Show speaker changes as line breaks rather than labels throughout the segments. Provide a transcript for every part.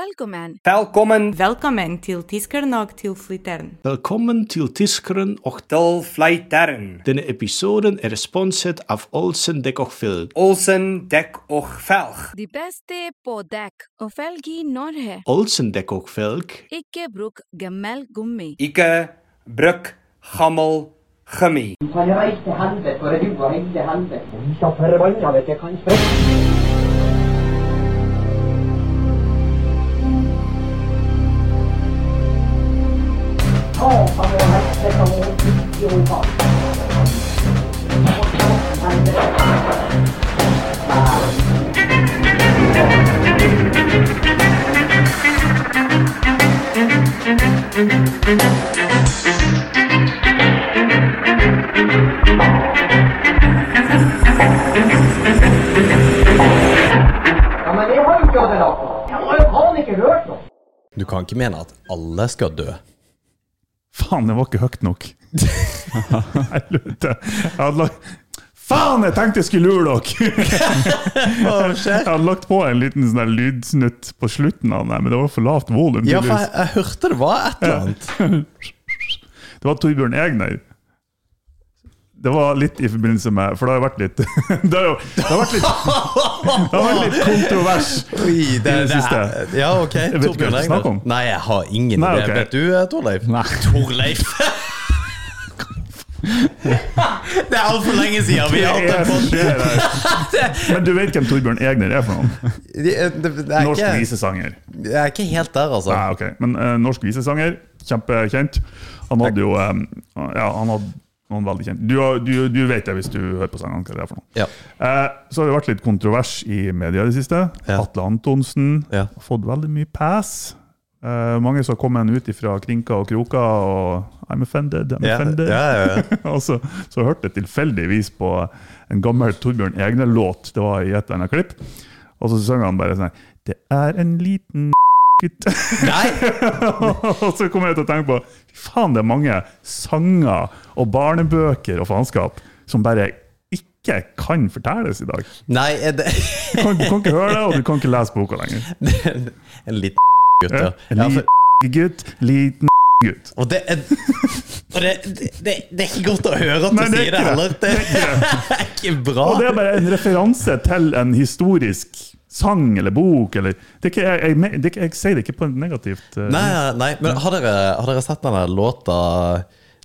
Velkommen.
Velkommen
Velkommen til Tiskeren og til Flytteren.
Velkommen til Tiskeren och
til Flyteren.
denne episoden er sponset av Olsen Dekochveld.
Olsen dek og velg.
De beste på dekk og felg i Norge.
Olsen Dekochveld
Ikke bruk gammel gummi.
Ikke bruk gammel gummi.
Han reiste til helvete, og du var helt til helvete. Vi skal forbanna dere, kanskje. Ja, men jeg har jo ikke hatt det noe. Jeg har jo faen ikke hørt noe.
Du kan ikke mene at alle skal dø.
Faen, det var ikke høyt nok. Helvete. Jeg hadde lagt Faen, jeg tenkte jeg skulle lure dere! jeg hadde lagt på en liten sånn der lydsnutt på slutten av den, men det var for lavt volum.
Ja, for jeg,
tydeligvis.
jeg hørte det var et eller annet.
Det var Torbjørn Egner. Det var litt i forbindelse med For det har jo vært litt Det har jo det har vært litt, det har vært litt kontrovers.
Oi, det,
det siste.
er- ja, ok.
vet ikke hva
Torbjørn
du snakker
Egner.
om.
Nei, jeg har ingen
Nei,
idé.
ok.
Vet du, eh, Torleif?
Nei.
Torleif! det er altfor lenge siden vi har
Det er-
hatt en
det er- Men du vet hvem Torbjørn Egner er for noen?
sånn
Norsk
Jeg
visesanger.
er ikke helt der, altså.
Nei, ok. Men eh, norsk visesanger, kjempekjent. Han hadde jo eh, Ja, han hadde noen veldig kjent. Du, har- du, du vet det hvis du hører på sangene. hva det er for noe.
Ja.
Eh, så har det vært litt kontrovers i media i det siste.
Ja.
Atle Antonsen
Ja.
har fått veldig mye pass. Eh, mange som har kommet ut ifra krinker og kroker og I'm offended, I'm
Ja,
offended.
ja, ja, ja.
og så, så hørte jeg tilfeldigvis på en gammel Torbjørn Egne-låt. Det var i et eller annet klipp. Og så sang han bare sånn her, Det er en liten gutt.
Nei,
og så kom jeg til å tenke på Fy faen, det er mange sanger og barnebøker og faenskap som bare ikke kan fortelles i dag.
nei er det
Du kan, du kan ikke høre det, og du kan ikke lese boka lenger.
En liten gutt,
Ja.
ja.
En
ja for,
liten gutt, liten gutt.
og det er og det, det, det, det er ikke godt å høre at du
Nei, det er
sier det
ikke det.
heller. Det,
Det er
er ikke bra.
Og det er bare en referanse til en historisk sang eller bok eller det er ikke, jeg, jeg, me- det er ikke, jeg sier det ikke på en negativt eh,
Nei, nei, nei, men har dere, har dere sett denne låta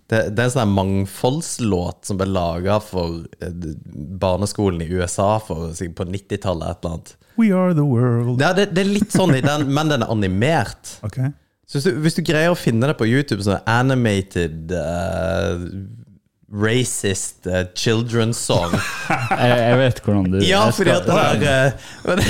det, det er en sånn her mangfoldslåt som ble laga for eh, barneskolen i USA for, sikkert på 90-tallet, et eller annet.
We are the world.
Ja, det, det er litt sånn i den, men den er animert.
Ok.
Så hvis du, hvis du greier å finne det på YouTube, sånn animated eh, racist eh, children's song
Jeg, jeg vet hvordan du
Ja,
jeg
fordi at det
skal-
er eh, men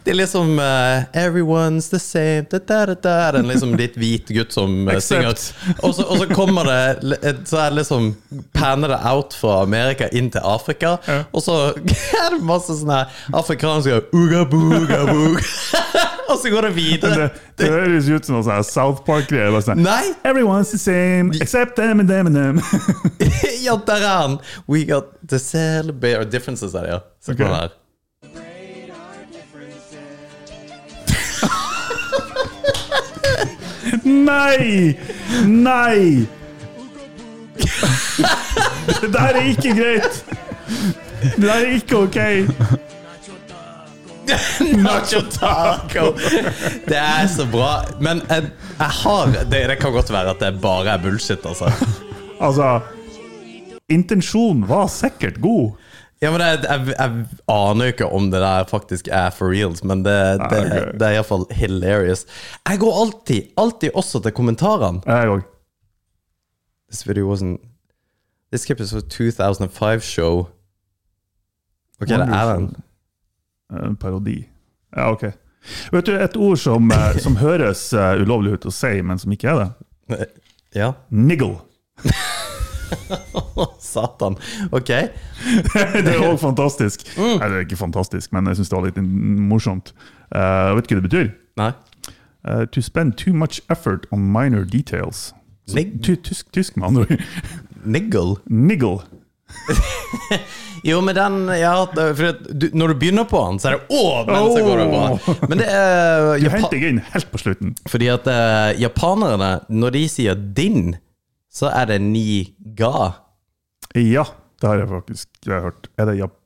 Det er liksom eh, Everyone's the same da, da, da, da, Den liksom litt hvit gutt som eh, synger og så, og så kommer det l- et- Så er det liksom Panner det out fra Amerika inn til Afrika Og så er det masse sånne her Afrikanske Uga buga buga Og så går det
Det,
videre
det høres ut som noe sånn her South Park-greier. bare sånn,
Nei.
Everyone's the same, except them and them and them.
Ja, der er han We got to celebrate our differences er det, ja Så kommer
Ok.
han her
Nei! Nei! Det der er ikke greit! Det der er ikke ok.
Nacho taco! Det er så bra. Men jeg, jeg har det, det kan godt være at det bare er bullshit, altså.
Altså Intensjonen var sikkert god.
Ja, men jeg, jeg, jeg aner jo ikke om det der faktisk er for reals, men det, det,
ok.
det er iallfall hilarious. Jeg går alltid, alltid også til kommentarene.
Jeg òg.
This video wasn't This clip is for 2005 show. Ok, det er den.
En parodi. Ja, ok. Vet du, et ord som, eh, som høres eh, ulovlig ut å si, men som ikke er det?
Ja.
Niggle.
Å, Satan. Ok.
Det er òg fantastisk. Nei, det er ikke fantastisk, men jeg syns det var litt morsomt. Eh, vet du hva det betyr?
Nei.
Eh, to spend too much effort on minor details. Så
Nig-
ty- Tysk, tysk med andre ord.
Niggle.
Niggle.
Jo, men den ja, for at du, Når du begynner på den, så er det Å, men så går det bra. Men det er
Du
Japa-
henter jeg inn helt på slutten.
Fordi at eh, japanerne, når de sier din, så er det ni ga.
Ja, det har jeg faktisk det har jeg hørt. Er det Jap...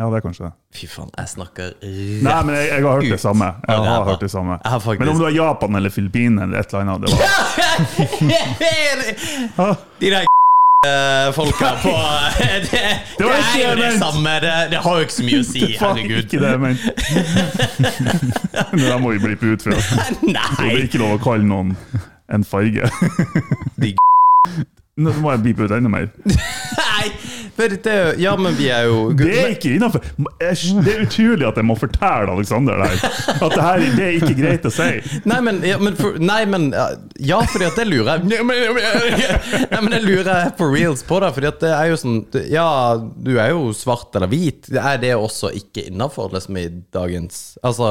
Ja, det er kanskje det.
Fy faen, jeg snakker
Nei, men jeg, jeg har hørt det
Ut
samme.
av
Jeg har
ræva.
hørt det samme.
Jeg har faktisk-
Men om det var Japan eller Filippinene eller et eller annet det var... Ah,
De der eh, folka på Det, det,
Det var ikke
er jo
det jeg
det
mente.
samme. Det, det har jo ikke så mye å si.
Det var
Herregud.
ikke det jeg mente. Men det må vi blippe ut fra. Så
Nei!
det er ikke lov å kalle noen en farge.
De
Nå må jeg blippe ut enda mer.
Nei! For det, er jo- ja, men vi er jo
Det er ikke innafor. Det er utrolig at jeg må fortelle Aleksander det her. At det her det er ikke greit å si.
Nei, men Ja, men, for, nei, men, ja fordi at det lurer jeg Nei, men- Nei, men det lurer jeg på reels på, da. Fordi at det er jo sånn Ja, du er jo svart eller hvit. Er det også ikke innafor, liksom, i dagens Altså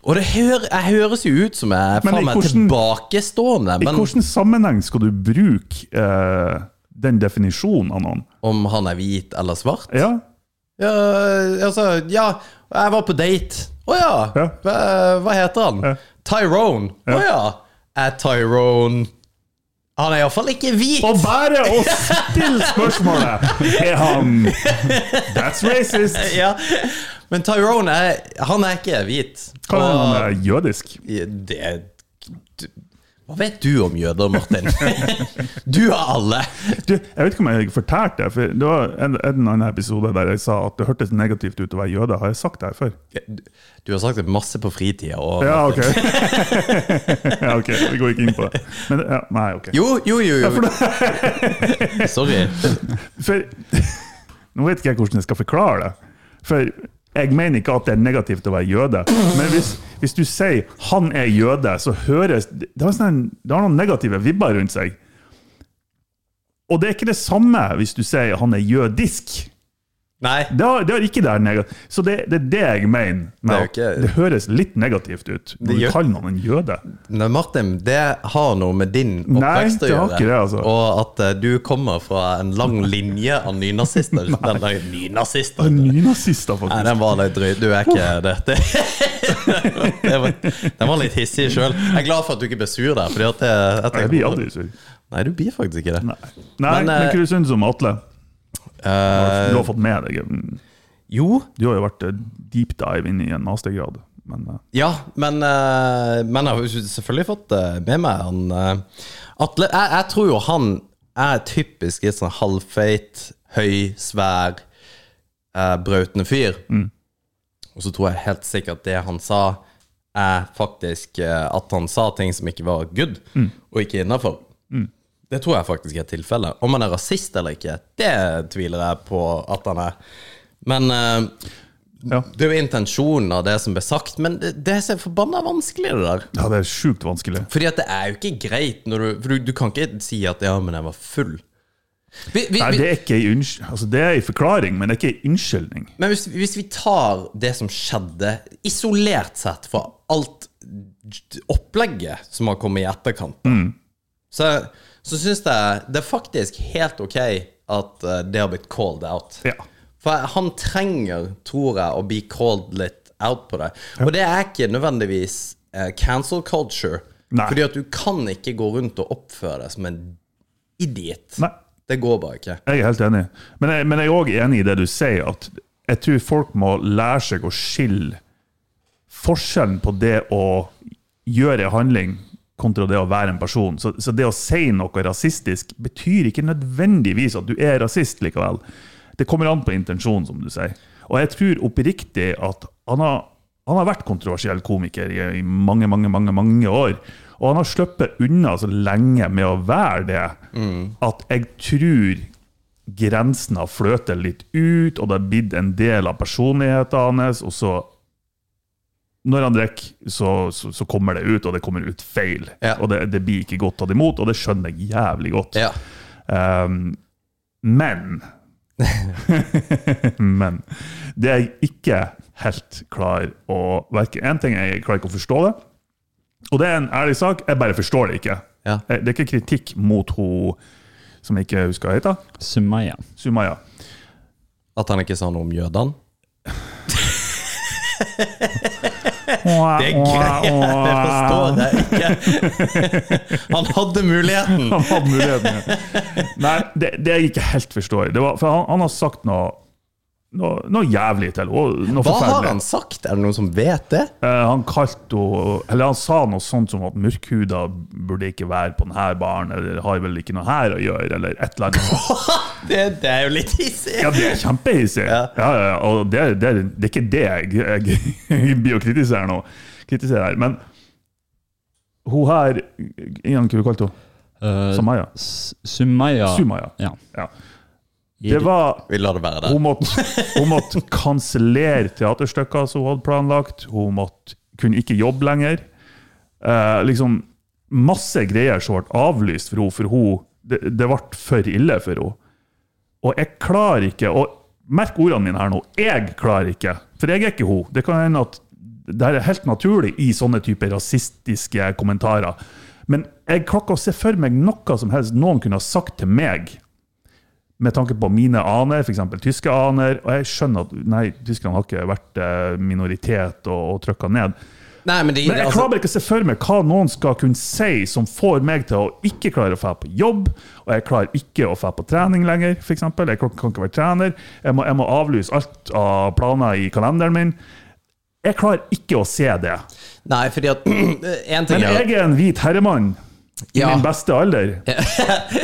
Og det hører, jeg høres jo ut som jeg er
Men i
faen meg
hvordan-
tilbakestående,
I
men
hvilken sammenheng skal du bruke eh, den definisjonen av noen?
om han er hvit eller svart
Ja,
Ja, altså Ja, jeg var på date. Å ja.
Ja.
Hva, hva heter han?
Ja.
Tyrone. Å ja. Er Tyrone Han er iallfall ikke hvit!
Og bare å stille spørsmålet Er han That's racist!
Ja. Men Tyrone er, han er ikke hvit.
Kan hende
Og-
han er jødisk?
Det er- du, Hva vet du om jøder, Martin? du av alle!
Du, jeg vet ikke om jeg fortalte det, for det var en, en annen episode der jeg sa at det hørtes negativt ut å være jøde. Har jeg sagt det her før?
Du har sagt det masse på fritida. Og,
Ja, ok. ja, ok, Vi går ikke inn på det. Men, ja, nei, ok.
Jo, jo, jo. jo. Sorry.
For Nå vet ikke jeg hvordan jeg skal forklare det. For jeg mener ikke at det er negativt å være jøde. Men hvis, hvis du sier 'han er jøde', så høres Det har, sånn, en- det har noen negative vibber rundt seg. Og det er ikke det samme hvis du sier 'han er jødisk'.
Nei.
Det har, det har ikke det her negativt. Så det, det er det jeg mener.
Det
Med
er jo
at
ikke-
det høres litt negativt
Det
ut når du
gjør-
kaller noen en jøde.
Nei, Martin, det har noe med din
Nei,
oppvekst å
det har
gjøre.
ikke det, altså.
Og at eh, du kommer fra en lang linje av nynazister. Den der
Det er
nynazister
Nynazister,
Nei,
faktisk.
den var litt drøy. Du er ikke det. det, det var, den var litt hissig sjøl. Jeg er glad for at du ikke ble sur der. Fordi at det, jeg
Jeg blir aldri sur.
Nei, du blir faktisk ikke det.
Nei, Nei
Men,
men,
eh,
hva syns du om Atle?
Eh,
Du har fått med deg mm,
jo,
Du har jo vært eh, deep dive inn i en mastergrad. Men eh,
ja, men, eh, men jeg har jo selvfølgelig fått eh, med meg han eh, Atle. Jeg, jeg tror jo han er typisk litt sånn halvfeit, høy, svær, eh, brautende fyr. Og så tror jeg helt sikkert det han sa, er faktisk eh, at han sa ting som ikke var good, og ikke innafor. Det tror jeg faktisk er tilfellet. Om han er rasist eller ikke, det tviler jeg på at han er. Men eh,
ja.
Det er jo intensjonen av det som ble sagt, men det, det er så forbanna vanskelig, det der.
ja, det er sjukt vanskelig.
Fordi at det er jo ikke greit når du For du, du kan ikke si at 'ja, men jeg var full'. Vi, vi,
Nei,
vi,
det er ikke en unnskyld... Altså, det er en forklaring, men det er ikke en unnskyldning.
men hvis, hvis vi tar det som skjedde, isolert sett fra alt d- opplegget som har kommet i etterkant, da,
Mm.
så, så syns jeg det er faktisk helt ok at eh, det har blitt called out.
Ja.
For han trenger, tror jeg, å bli called litt out på det. Og det er ikke nødvendigvis eh, cancel culture.
Nei.
Fordi at du kan ikke gå rundt og oppføre deg som en idiot.
Nei,
Det går bare ikke.
jeg er helt enig. Men jeg, men jeg er òg enig i det du sier, at jeg tror folk må lære seg å skille forskjellen på det å gjøre en handling kontra det å være en person. Så, så det å si noe rasistisk betyr ikke nødvendigvis at du er rasist likevel. Det kommer an på intensjonen, som du sier. Og jeg tror oppriktig at han har, han har vært kontroversiell komiker i, i mange, mange, mange mange år. Og han har sluppet unna så lenge med å være det at jeg tror grensen har fløtet litt ut, og det har blitt en del av personligheten hans, og så når han drikker, så, så, så kommer det ut, og det kommer ut feil.
Ja.
Og det, det blir ikke godt tatt imot, og det skjønner jeg jævlig godt.
Ja.
Um, men Men det er jeg ikke helt klar å verke En ting er jeg klarer ikke å forstå det, og det er en ærlig sak, jeg bare forstår det ikke.
Ja.
Jeg- Det er ikke kritikk mot hun som jeg ikke husker hva heter.
Sumaya.
Sumaya.
At han ikke sa noe om jødene?
Det
Det greier jeg forstår det ikke! Han hadde muligheten!
Han hadde muligheten. ja. Nei, det, det jeg ikke helt forstår det var, For han, han har sagt noe, noe, noe jævlig til henne. og Noe
Hva har
forferdelig.
han sagt? Er det noen som vet det?
Eh, han kalte henne Eller han sa noe sånt som at mørkhuda burde ikke være på denne baren, eller har vel ikke noe her å gjøre, eller et eller annet.
Det, det er jo litt hissig!
Ja, det er kjempehissig! Ja. Ja, ja, og det, det, er- det er ikke det jeg, jeg blir å kritisere nå. Kritisere her. Men hun her Igjen, hva kalte hun?
Eh,
Samaya?
S- Sumaya.
Sumaya.
Ja.
Ja. Det var
Vi lar det være der.
Hun måtte, hun måtte kansellere teaterstykker som hun hadde planlagt. Hun måtte, kunne ikke jobbe lenger. Eh, liksom Masse greier som ble avlyst for henne, for hun, det, det ble for ille for henne. Og jeg klarer ikke og Merk ordene mine her nå. Jeg klarer ikke, for jeg er ikke hun. Det kan hende at det her er helt naturlig i sånne typer rasistiske kommentarer. Men jeg klarer ikke å se for meg noe som helst noen kunne ha sagt til meg med tanke på mine aner, f.eks. tyske aner. Og jeg skjønner at nei, tyskerne har ikke vært eh, minoritet og, og trykka ned.
Nei, men de,
Men jeg
altså,
klarer bare ikke å se for meg hva noen skal kunne si som får meg til å ikke klare å dra på jobb, og jeg klarer ikke å dra på trening lenger, f.eks. Jeg kan, kan ikke være trener. Jeg må, jeg må avlyse alt av planer i kalenderen min. Jeg klarer ikke å se det.
nei, fordi at Én ting
Men
er
jeg er en hvit herremann i
Ja.
min beste alder,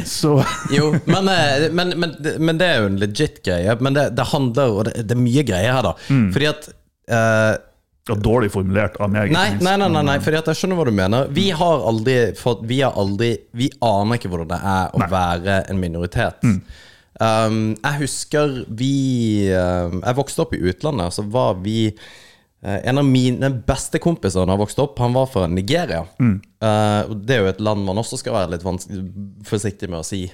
så
Jo, men, eh, men, men, men det er jo en legit greie. Men det, det handler jo og det, det er mye greier her, da. Fordi at eh,
og Dårlig formulert av meg. ikke
Nei,
minst.
nei, nei, nei, nei fordi at jeg skjønner hva du mener. Vi har aldri fått Vi har aldri Vi aner ikke hvordan det er å være en minoritet. Um, jeg husker vi um, Jeg vokste opp i utlandet, så var vi eh, En av mine beste kompiser da jeg vokste opp, han var fra Nigeria. Eh, og det er jo et land man også skal være litt vans- forsiktig med å si.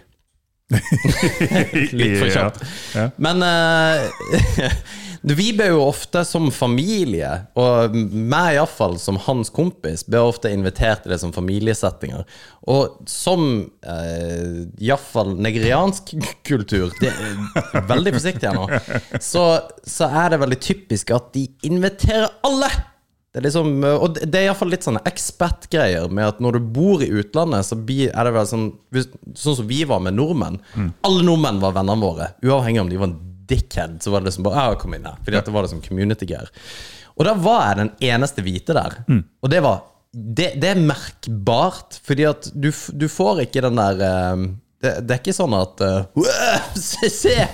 Litt for kjapt.
Ja.
Men eh, vi ble jo ofte som familie, og meg iallfall som hans kompis, ble ofte invitert til det som familiesettinger. Og som uh, iallfall nigeriansk kultur det er Veldig forsiktig her nå. Så, så er det veldig typisk at de inviterer alle! Det er liksom, og det er iallfall litt sånne expat-greier med at når du bor i utlandet, så blir- er det vel sånn hvis- Sånn som vi var med nordmenn. Alle nordmenn var vennene våre. Uavhengig om de var en dickhead, så var det liksom bare «Ja, 'Kom inn her.' Fordi at det var liksom community-greier. Og da var jeg den eneste hvite der. Og det var det, det er merkbart, fordi at du, f- du får ikke den der eh, det, det er ikke sånn at eh, «Wow, Se! se!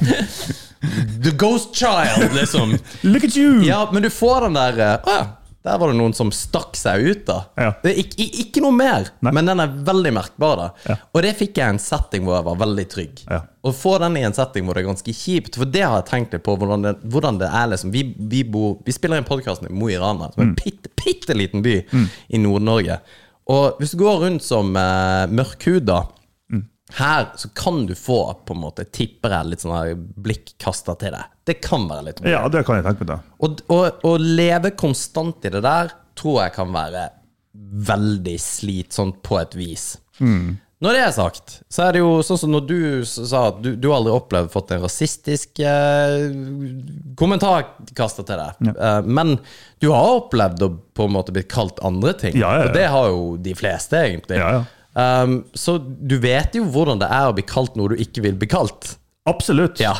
The ghost child, liksom.
Look at you!
Ja, men du får den der eh, Å ja, der var det noen som stakk seg ut, da.
Ja.
Det er ikke, i- ikke noe mer,
Nei.
men den er veldig merkbar. da
Ja.
Og det fikk jeg i en setting hvor jeg var veldig trygg.
Ja.
Å få den i en setting hvor det er ganske kjipt, for det har jeg tenkt litt på. Hvordan det, hvordan det er liksom Vi, vi, bor, vi spiller inn podkasten i Mo i Rana, som er en
Mm.
bitte, bitte liten by i Nord-Norge. Og hvis du går rundt som eh, mørkhuda
Mm.
her så kan du få på en måte tipper jeg litt sånn her blikk kasta til deg. Det kan være litt
Ja, det kan jeg tenke meg. da.
og, og, å leve konstant i det der tror jeg kan være veldig slitsomt på et vis.
Mm.
Når det er sagt, så er det jo sånn som når du s- sa at du, du har aldri opplevd fått en rasistisk eh, kommentar kasta til deg. Eh, men du har opplevd å på en måte blitt kalt andre ting,
Ja, ja, ja.
og det har jo de fleste, egentlig.
Ja, ja.
Um, så du vet jo hvordan det er å bli kalt noe du ikke vil bli kalt.
Absolutt.
Ja.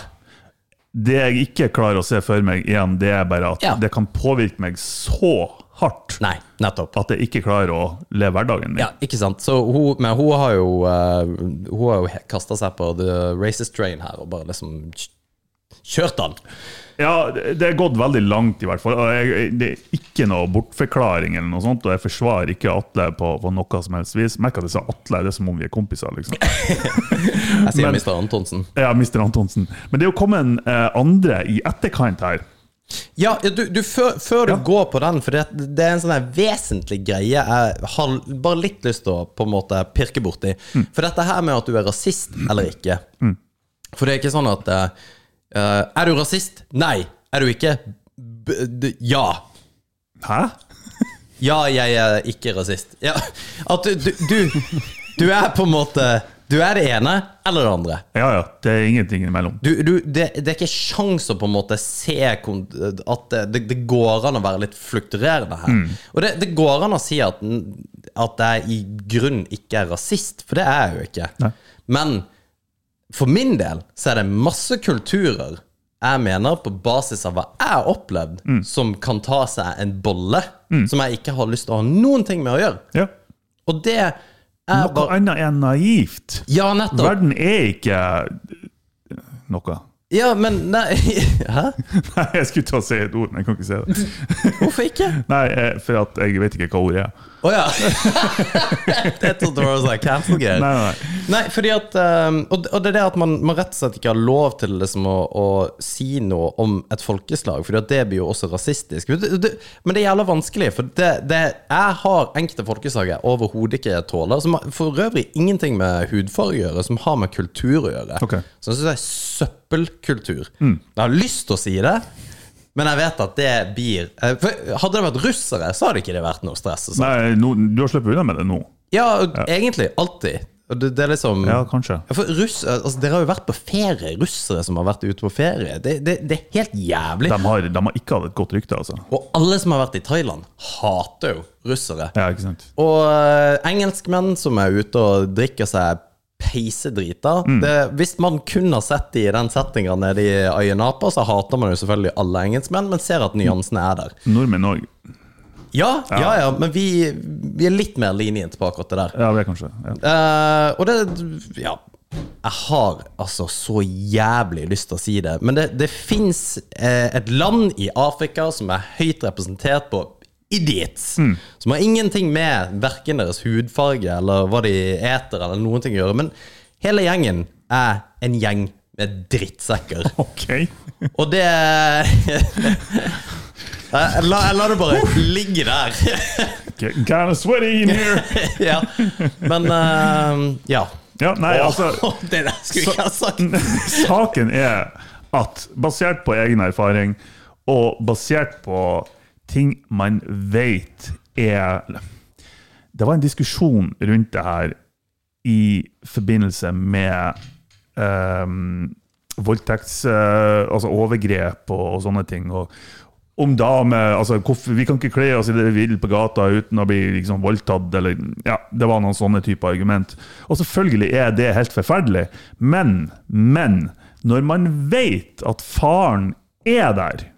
Det jeg ikke klarer å se for meg igjen, det er bare at
Ja.
det kan påvirke meg så hardt
Nei, nettopp.
at jeg ikke klarer å leve hverdagen min.
Ja, ikke sant. Så hun, men hun har jo, eh, hun har jo kasta seg på the racist train her og bare liksom kj- kjørt han.
Ja, det det er gått veldig langt, i hvert fall. Og jeg, jeg- det er ikke noe bortforklaring, eller noe sånt, og jeg forsvarer ikke Atle på, på noe som helst vis. Merk at jeg sa Atle, det er som om vi er kompiser. liksom.
Jeg sier
Men-
Mr. Antonsen.
Ja, Mr. Antonsen. Men det er jo kommet en eh, andre i etterkant her.
Ja, du, du, før, før du går på den, for det, det er en sånn her vesentlig greie jeg har bare litt lyst til å på en måte pirke borti. For dette her med at du er rasist eller ikke For det er ikke sånn at eh, eh, Er du rasist? Nei. Er du ikke? B d ja.
Hæ?
Ja, jeg er ikke rasist. Ja, at du, du, du Du er på en måte Du er det ene eller det andre.
Ja, ja. Det er ingenting imellom.
Du, du, det, det er ikke sjans å på en måte se kon- at det, det, det går an å være litt flukturerende her.
Mm.
Og det, det går an å si at, den- at jeg i grunn ikke er rasist, for det er jeg jo ikke.
Nei.
Men for min del så er det masse kulturer jeg mener, på basis av hva jeg har opplevd,
Mm.
som kan ta seg en bolle som jeg ikke har lyst til å ha noen ting med å gjøre.
Ja.
Og det er
Noe
bare
annet er naivt.
Ja, nettopp.
Verden er ikke noe.
Ja, men nei Hæ?
Nei, jeg skulle til å si et ord, men jeg kan ikke si det.
Hvorfor ikke?
Nei, eh, for at jeg vet ikke hva ordet er.
Å ja! jeg trodde det var sånn cancel-greier.
Nei,
Nei.
nei, nei.
fordi at um, og, og det er det at man, man rett og slett ikke har lov til liksom, å, å si noe om et folkeslag, for det blir jo også rasistisk. Men det, det, men det er jævla vanskelig, for det, det, jeg har enkelte folkeslag jeg overhodet ikke tåler, som har for øvrig ingenting med hudfarge å gjøre, som har med kultur å gjøre.
Ok. Mm.
Så jeg syns det er søppelkultur. Jeg har lyst til å si det. Men jeg vet at det blir eh, for Hadde det vært russere, så hadde ikke det vært noe stress. og sånn.
nei nå, du har sluppet unna med det nå.
Ja, egentlig. Alltid. Og Det, det er liksom
Ja, kanskje.
Ja, For russ, altså, Dere har jo vært på ferie, russere som har vært ute på ferie. Det, det, det er helt jævlig.
De har, de har ikke hatt et godt rykte, altså.
Og alle som har vært i Thailand, hater jo russere.
Ja, ikke sant?
Og eh, engelskmenn som er ute og drikker seg peisedrita det, Hvis man kun har sett de i den settinga nede i Ayanapa, så hater man jo selvfølgelig alle engelskmenn, men ser at nyansene er der.
Nordmenn òg.
Ja, ja, ja, men vi, vi er litt mer lenient på akkurat det der.
Ja, det er kanskje. Ja.
Eh, og det Ja. Jeg har altså så jævlig lyst til å si det, men det, det fins eh, et land i Afrika som er høyt representert på idiots. Som har ingenting med verken deres hudfarge eller hva de eter eller noen ting å gjøre. Men hele gjengen er en gjeng med drittsekker.
Ok.
Og det Jeg la, jeg la det bare ligge der.
Getting kind of sweaty in here.
ja. Men eh, ja.
Ja, nei, altså,
det der skulle jeg ikke ha sagt!
saken er at basert på egen erfaring, og basert på ting man vet er Det var en diskusjon rundt det her i forbindelse med um, voldtekts... eh, altså overgrep og, og sånne ting. og om damer altså, hvorfor, Vi kan ikke kle oss i det vi vil på gata uten å bli liksom, voldtatt. Eller, ja, det var noen sånne typer argument. Og selvfølgelig er det helt forferdelig, men, men når man vet at faren er der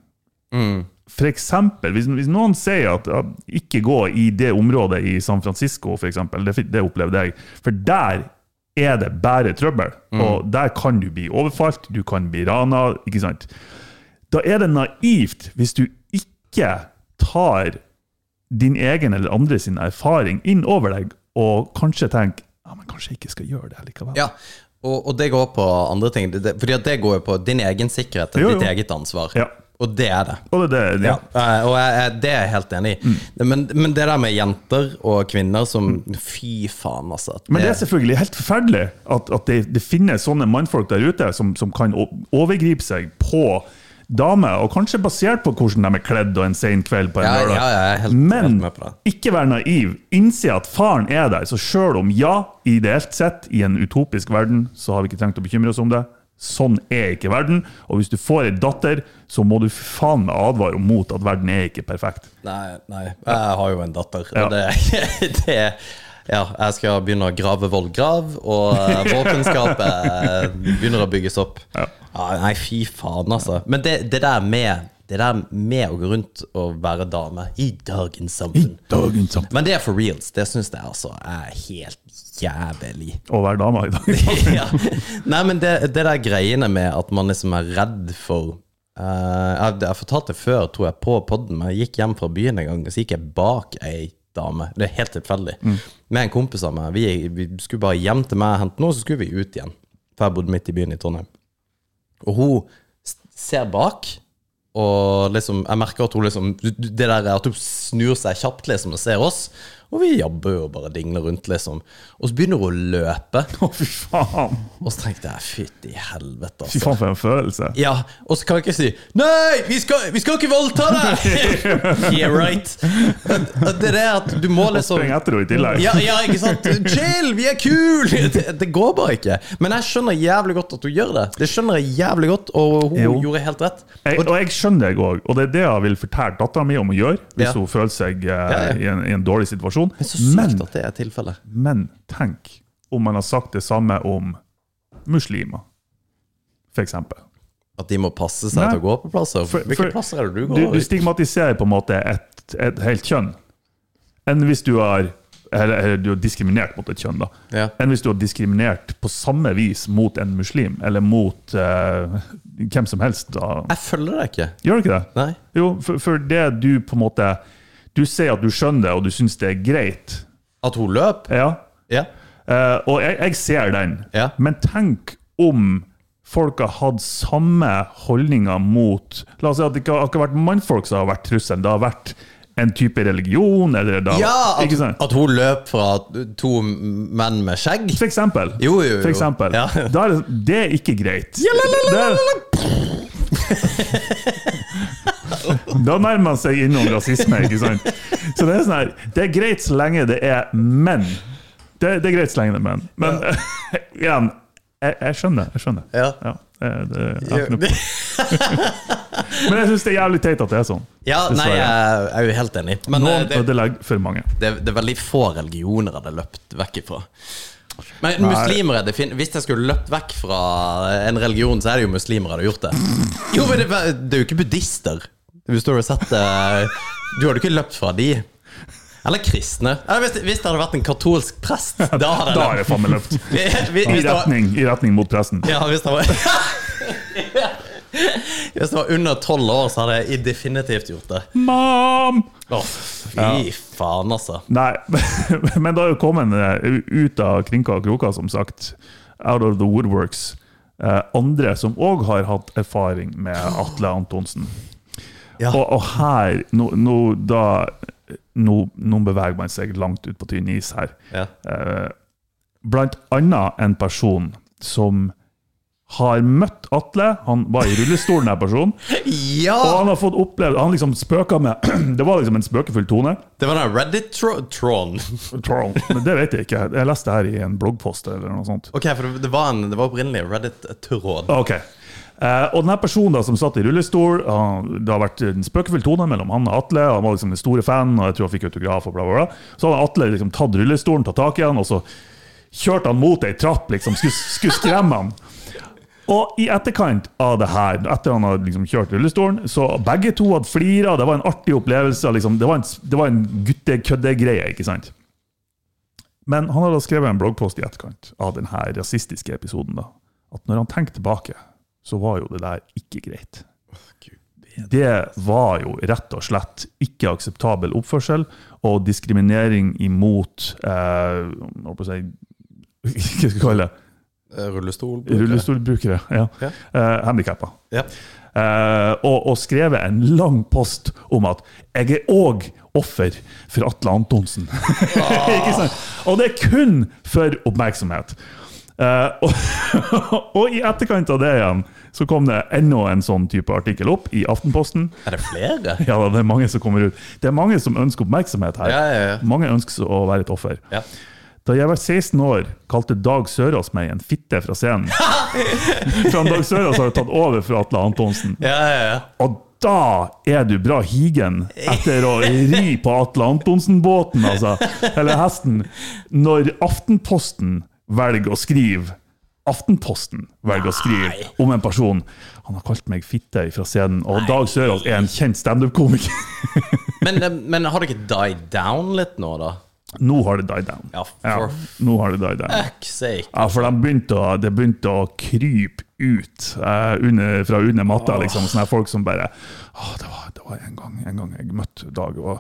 for eksempel, hvis, hvis noen sier at, at ikke gå i det området i San Francisco, for eksempel, det, det opplevde jeg, for der er det bare trøbbel. Og der kan du bli overfalt, du kan bli rana, ikke sant? Da er det naivt hvis du ikke tar din egen eller andre sin erfaring inn over deg, og kanskje tenker ja, men kanskje jeg ikke skal gjøre det likevel.
Ja, og, og det går på andre ting. Det, det, fordi at det går jo på din egen sikkerhet,
Jo, jo.
ditt eget ansvar.
Ja.
Og det er det.
Og det, Mm. det, ja.
Eh, og jeg, jeg, det er jeg helt enig i. Men, men det der med jenter og kvinner som Fy faen, altså. at
Men det
det-
er selvfølgelig helt forferdelig at, at det, det finnes sånne mannfolk der ute som, som kan o- overgripe seg på damer, og kanskje basert på hvordan de er kledd og en sen kveld på en
Ja,
lørdag.
ja, jeg er helt-
Men
helt med på
ikke vær naiv. Innse at faren er der. Så sjøl om ja, ideelt sett, i en utopisk verden, så har vi ikke trengt å bekymre oss om det. Sånn er ikke verden. Og hvis du får ei datter, så må du faen meg advare mot at verden er ikke perfekt.
Nei, nei. Jeg har jo en datter.
Ja.
Og det, det ja, jeg skal begynne å grave vollgrav, og eh, våpenskapet eh, begynner å bygges opp. Ja, nei, fy faen, altså. Men det, det, der med, det der med å gå rundt og være dame i dagens samfunn
Dagens samfunn.
Men det er for reals. Det syns jeg altså er helt jævlig.
Å være dame i dag.
ja. Nei, men det, det der greiene med at man liksom er redd for eh, jeg, jeg fortalte det før, tror jeg, på podden, men jeg gikk hjem fra byen en gang, og så gikk jeg bak ei dame. Det er helt tilfeldig.
Mm.
Med en kompis av meg. Vi, vi skulle bare hjem til meg og hente noe, så skulle vi ut igjen. For jeg bodde midt i byen i Trondheim. Og hun s- ser bak, og liksom, jeg merker at hun liksom Det der er at hun snur seg kjapt liksom og ser oss, Og vi jabber jo og bare dingler rundt, liksom. Og så begynner hun å løpe.
Å, fy faen!
Og så tenkte jeg fytti helvete,
Fy
altså.
faen, for en følelse.
Ja, og så kan jeg ikke si 'Nei, vi skal, vi skal ikke voldta deg!' yeah, right. Og Det er det at du må liksom
Spreng etter henne i tillegg.
ja, ja, ikke sant? Chill, vi er kule! Det, det går bare ikke. Men jeg skjønner jævlig godt at hun gjør det. Det skjønner jeg jævlig godt, og hun
Jo.
gjorde helt rett.
Jeg, og jeg skjønner det òg, og det er det jeg vil fortelle dattera mi om å gjøre hvis
Ja.
hun føler seg eh,
ja.
I, en, i en dårlig situasjon.
Men så sykt
Men,
at det er tilfellet.
men tenk om man har sagt det samme om muslimer, for eksempel.
At de må passe seg
Nei.
til å gå på plasser.
For-
Hvilke
for-
plasser er det du
Du,
går
du stigmatiserer på en måte et, et helt kjønn enn hvis du har eller, eller du har diskriminert mot et kjønn, da.
Ja.
Enn hvis du har diskriminert på samme vis mot en muslim, eller mot eh, hvem som helst. Da.
Jeg følger deg ikke.
Gjør du ikke det?
Nei.
Jo, for, for det du på en måte Du sier at du skjønner det, og du syns det er greit.
At hun løp?
Ja.
Ja.
Eh, og jeg, jeg ser den.
Ja.
Men tenk om folk har hatt samme holdninger mot La oss si at det ikke har, ikke har vært mannfolk som har vært trusselen. Det har vært en type religion, eller da,
Ja, at,
ikke sant?
at hun løp fra to menn med skjegg?
For eksempel.
Jo, jo, jo.
For eksempel.
Ja.
Da er det, det er ikke greit. Det, da nærmer man seg innom rasisme, ikke sant? Så det er sånn her, det er greit så lenge det er menn. Det, det er greit så lenge det er menn. Men igjen, jeg, jeg skjønner. Jeg skjønner.
Ja.
det, det, jeg har ikke noe- Men jeg syns det er jævlig teit at det er sånn.
Ja, nei, jeg,
Dessverre.
jeg er jo helt enig. Men eh,
Noen
det,
ødelegger for mange.
det, det er veldig få religioner jeg hadde løpt vekk ifra. Men muslimer er defin Hvis jeg skulle løpt vekk fra en religion, så er det jo muslimer jeg hadde gjort det. Jo, men det, er- det er jo ikke buddhister. Hvis du hadde sett eh, Du hadde ikke løpt fra de. Eller kristne. Eller hvis, det- hvis det hadde vært en katolsk prest, da hadde
Da er
jeg
det faen meg løpt.
løpt. Hvis,
I
hvis det var,
retning, I retning mot presten.
ja, hvis det var Hvis det var under tolv år, så hadde jeg definitivt gjort det.
Mam!
Å, fy faen, altså.
Nei, men da er jo kommet eh, ut av krinka og kroka, som sagt. Out of the woodworks. Eh, andre som òg har hatt erfaring med Atle Antonsen.
Ja.
Og, og her nå, nå, da, nå, nå beveger man seg langt ut på tynn is her.
Ja.
Eh, blant annet en person som har møtt Atle. Han var i rullestol, den her personen.
ja.
Og han har fått opplevd Han liksom spøka med Det var liksom en spøkefull tone.
Det var den Reddit-tron.
Troll. Men det vet jeg ikke. Jeg leste det her i en bloggpost eller noe sånt.
Ok, for det, det, var en, det var opprinnelig Reddit-tron.
Ok. Eh, og denne personen da, som satt i rullestol, han, det har vært en spøkefull tone mellom han og Atle. Han var liksom den store fan, og jeg tror han fikk autograf og bla, bla, bla. Så hadde Atle liksom tatt rullestolen, tatt tak i han, og så kjørte han mot ei trapp, liksom. Skulle, skulle skremme han. Og i etterkant av det her, etter han hadde liksom kjørt rullestolen, så begge to hadde flira. Det var en artig opplevelse. Liksom. Det var en, det var en guttekøddegreie, ikke sant? Men han har da skrevet en bloggpost i etterkant av denne rasistiske episoden. da, At når han tenker tilbake, så var jo det der ikke greit. Det var jo rett og slett ikke akseptabel oppførsel og diskriminering imot eh, Hva skal jeg si, hva skal jeg kalle det?
Eh, Rullestol.
Rullestolbrukere. Ja.
Ja.
Eh, handikappa.
Ja.
Eh, og, og skrevet en lang post om at 'jeg er òg offer for Atle Antonsen'. Ikke sant? Og det er kun for oppmerksomhet. Eh, og, og i etterkant av det igjen så kom det enda en sånn type artikkel opp i Aftenposten.
Er det flere?
Ja, da, det er mange som kommer ut. Det er mange som ønsker oppmerksomhet her.
Ja, ja, ja.
Mange ønsker å være et offer.
Ja.
Da jeg var 16 år, kalte Dag Sørås meg en fitte fra scenen. For han Dag Sørås har jo tatt over for Atle Antonsen.
Ja, ja, ja.
Og da er du bra higen etter å ri på Atle Antonsen-båten, altså. Eller hesten. Når Aftenposten velger å skrive Aftenposten velger å skrive om en person. Han har kalt meg fitte fra scenen, og Dag Sørås er en kjent standup-komiker.
Men, eh, men har det ikke died down litt nå, da?
Nå har det died down.
Ja, for-
nå har det died down.
Fuck sake.
Ja, for de begynte å, det begynte å krype ut eh, under, fra under matta, liksom. Sånne folk som bare Å, det var, det var en, gang, en gang jeg møtte Dag og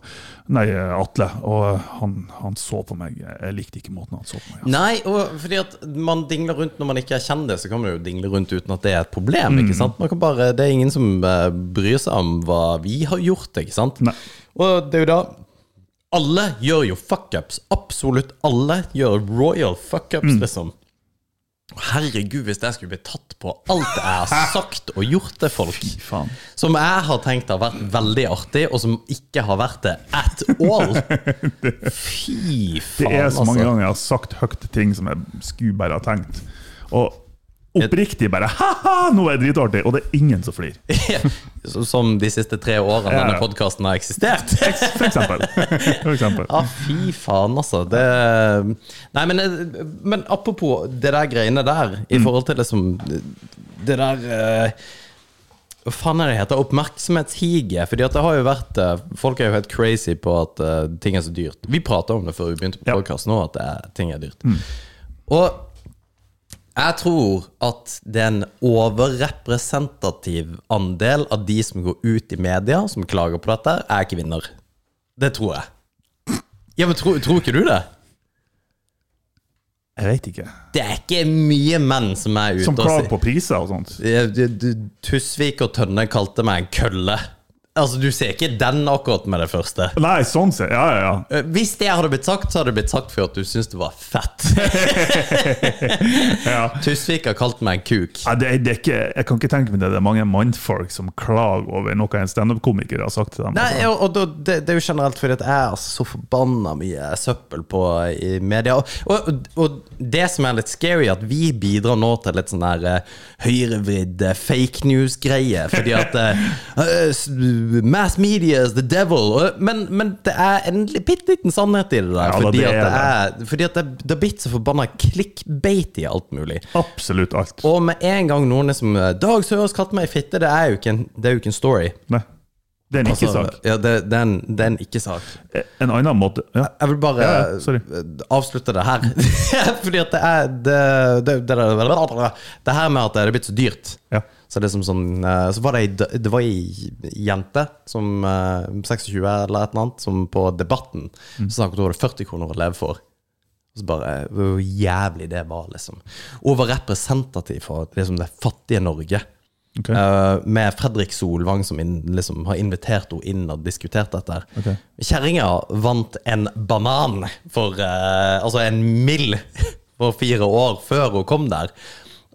Nei, Atle, og han, han så på meg. Jeg likte ikke måten han så på meg altså.
Nei, og fordi at man dingler rundt når man ikke er kjendis, så kan man jo dingle rundt uten at det er et problem. ikke
Mm.
sant? Man kan bare, Det er ingen som eh, bryr seg om hva vi har gjort, ikke sant?
Nei.
Og det er jo da Alle gjør jo fuckups. Absolutt alle gjør royal fuckups,
Mm.
liksom. Herregud, hvis jeg skulle bli tatt på alt jeg har sagt og gjort til folk,
Fy faen.
som jeg har tenkt har vært veldig artig, og som ikke har vært det at all. Fy
Det
faen,
er så mange
altså.
ganger jeg har sagt høyt ting som jeg skulle bare ha tenkt. Og oppriktig bare Ha-ha, nå er det dritartig! Og det er ingen som flirer.
Så- Som de siste tre årene
Ja.
denne podkasten har eksistert.
For eksempel. For eksempel.
Ja, fy faen, altså. Det Nei, men, men apropos det der greiene der, i forhold til liksom Det der eh, Hva faen er det heter? Oppmerksomhetshiget. Fordi at det har jo vært eh, Folk er jo helt crazy på at eh, ting er så dyrt. Vi prata om det før vi begynte på
Ja.
podkasten òg, at det er, ting er dyrt. Og jeg tror at det er en overrepresentativ andel av de som går ut i media, som klager på dette, er kvinner. Det tror jeg. Ja, men tror, tror ikke du det?
Jeg vet ikke.
Det er ikke mye menn som er ute
Som klager
og
på priser og sånt.
sier Tusvik og Tønne kalte meg en kølle. Altså, du ser ikke den akkurat med det første.
Nei, sånn ser Ja, ja, ja.
Eh, Hvis det hadde blitt sagt, så hadde det blitt sagt for at du syntes det var fett. Tusvik har kalt meg en kuk.
Nei, det, er- det er ikke, jeg kan ikke tenke meg det. Det er mange mannfolk som klager over noe en standup-komiker har sagt til dem.
Nei, og, og da- det, det er jo generelt fordi at jeg er altså så forbanna mye søppel på i media. Og, og, og det som er litt scary, er at vi bidrar nå til litt sånn der eh, høyrevridd eh, fake news-greie. Fordi at eh, eh, s- mass media is the devil. Og- Men, men det er en li- bitte liten sannhet i det der.
Ja, da,
fordi,
det
at
er
det er, fordi at det, det er blitt så forbanna clickbait i alt mulig.
Altså, Absolutt alt.
Og med en gang noen liksom eh, 'Dag Sørås kalte meg fitte', det er jo ikke en, det er jo ikke en story.
Nei. Det er en
Altså,
ikke-sak.
Ja, det, det er en, det er en ikke-sak.
En annen måte ja.
Jeg vil bare eh,
Ja, ja, sorry.
avslutte det her. Fordi at det er det, det, det, det, det her med at det er blitt så dyrt.
Ja.
Så det er som sånn eh, Så var det ei d- det var ei jente, som eh, 26 eller et eller annet, som på Debatten Så snakket hun om det var 40 kroner å leve for. Og så bare eh, Hvor jævlig det var, liksom. Hun var representativ for liksom, det fattige Norge.
Ok.
Eh, med Fredrik Solvang, som inn, liksom, har invitert henne inn og diskutert dette. her.
Ok.
Kjerringa vant en banan for eh, Altså en mill for fire år før hun kom der.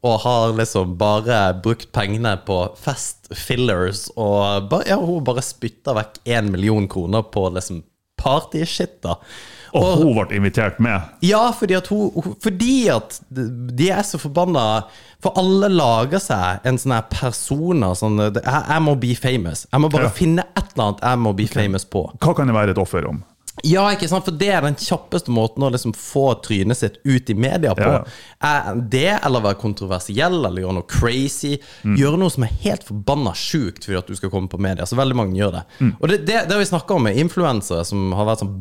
Og har liksom bare brukt pengene på fest fillers og bare, ja, hun bare spytta vekk én million kroner på liksom partyshit, da.
Og hun ble invitert med.
Ja, fordi at, hun, hun- fordi at de er så forbanna For alle lager seg en sånn her persona sånn, det- jeg, 'Jeg må be famous'. Jeg må bare
Ja.
finne et eller annet jeg må be famous på.
Hva kan det være et offer om?
Ja, ikke sant? For det er den kjappeste måten å liksom få trynet sitt ut i media på.
Ja, ja.
Er det, eller være kontroversiell, eller gjøre noe crazy.
Mm.
Gjøre noe som er helt forbanna sjukt fordi at du skal komme på media. Så veldig mange gjør det.
Mm.
Og det, det, det har vi snakka om med influensere som har vært sånn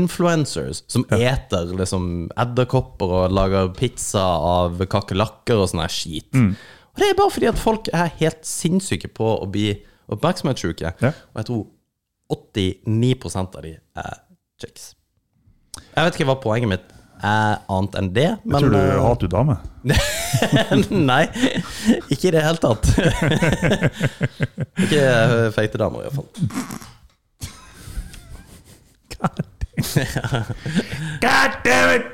bug-influencers, som eter liksom edderkopper og lager pizza av kakerlakker og sånn her skit.
Mm.
Og det er bare fordi at folk er helt sinnssyke på å bli oppmerksomhetssjuke.
Ja.
Og jeg tror 89 av de er chicks. Jeg vet ikke hva poenget mitt er annet enn det, men
Tror du
eh,
hater du damer?
Nei, ikke i det hele tatt. ikke eh, feite damer, iallfall.
God damn it!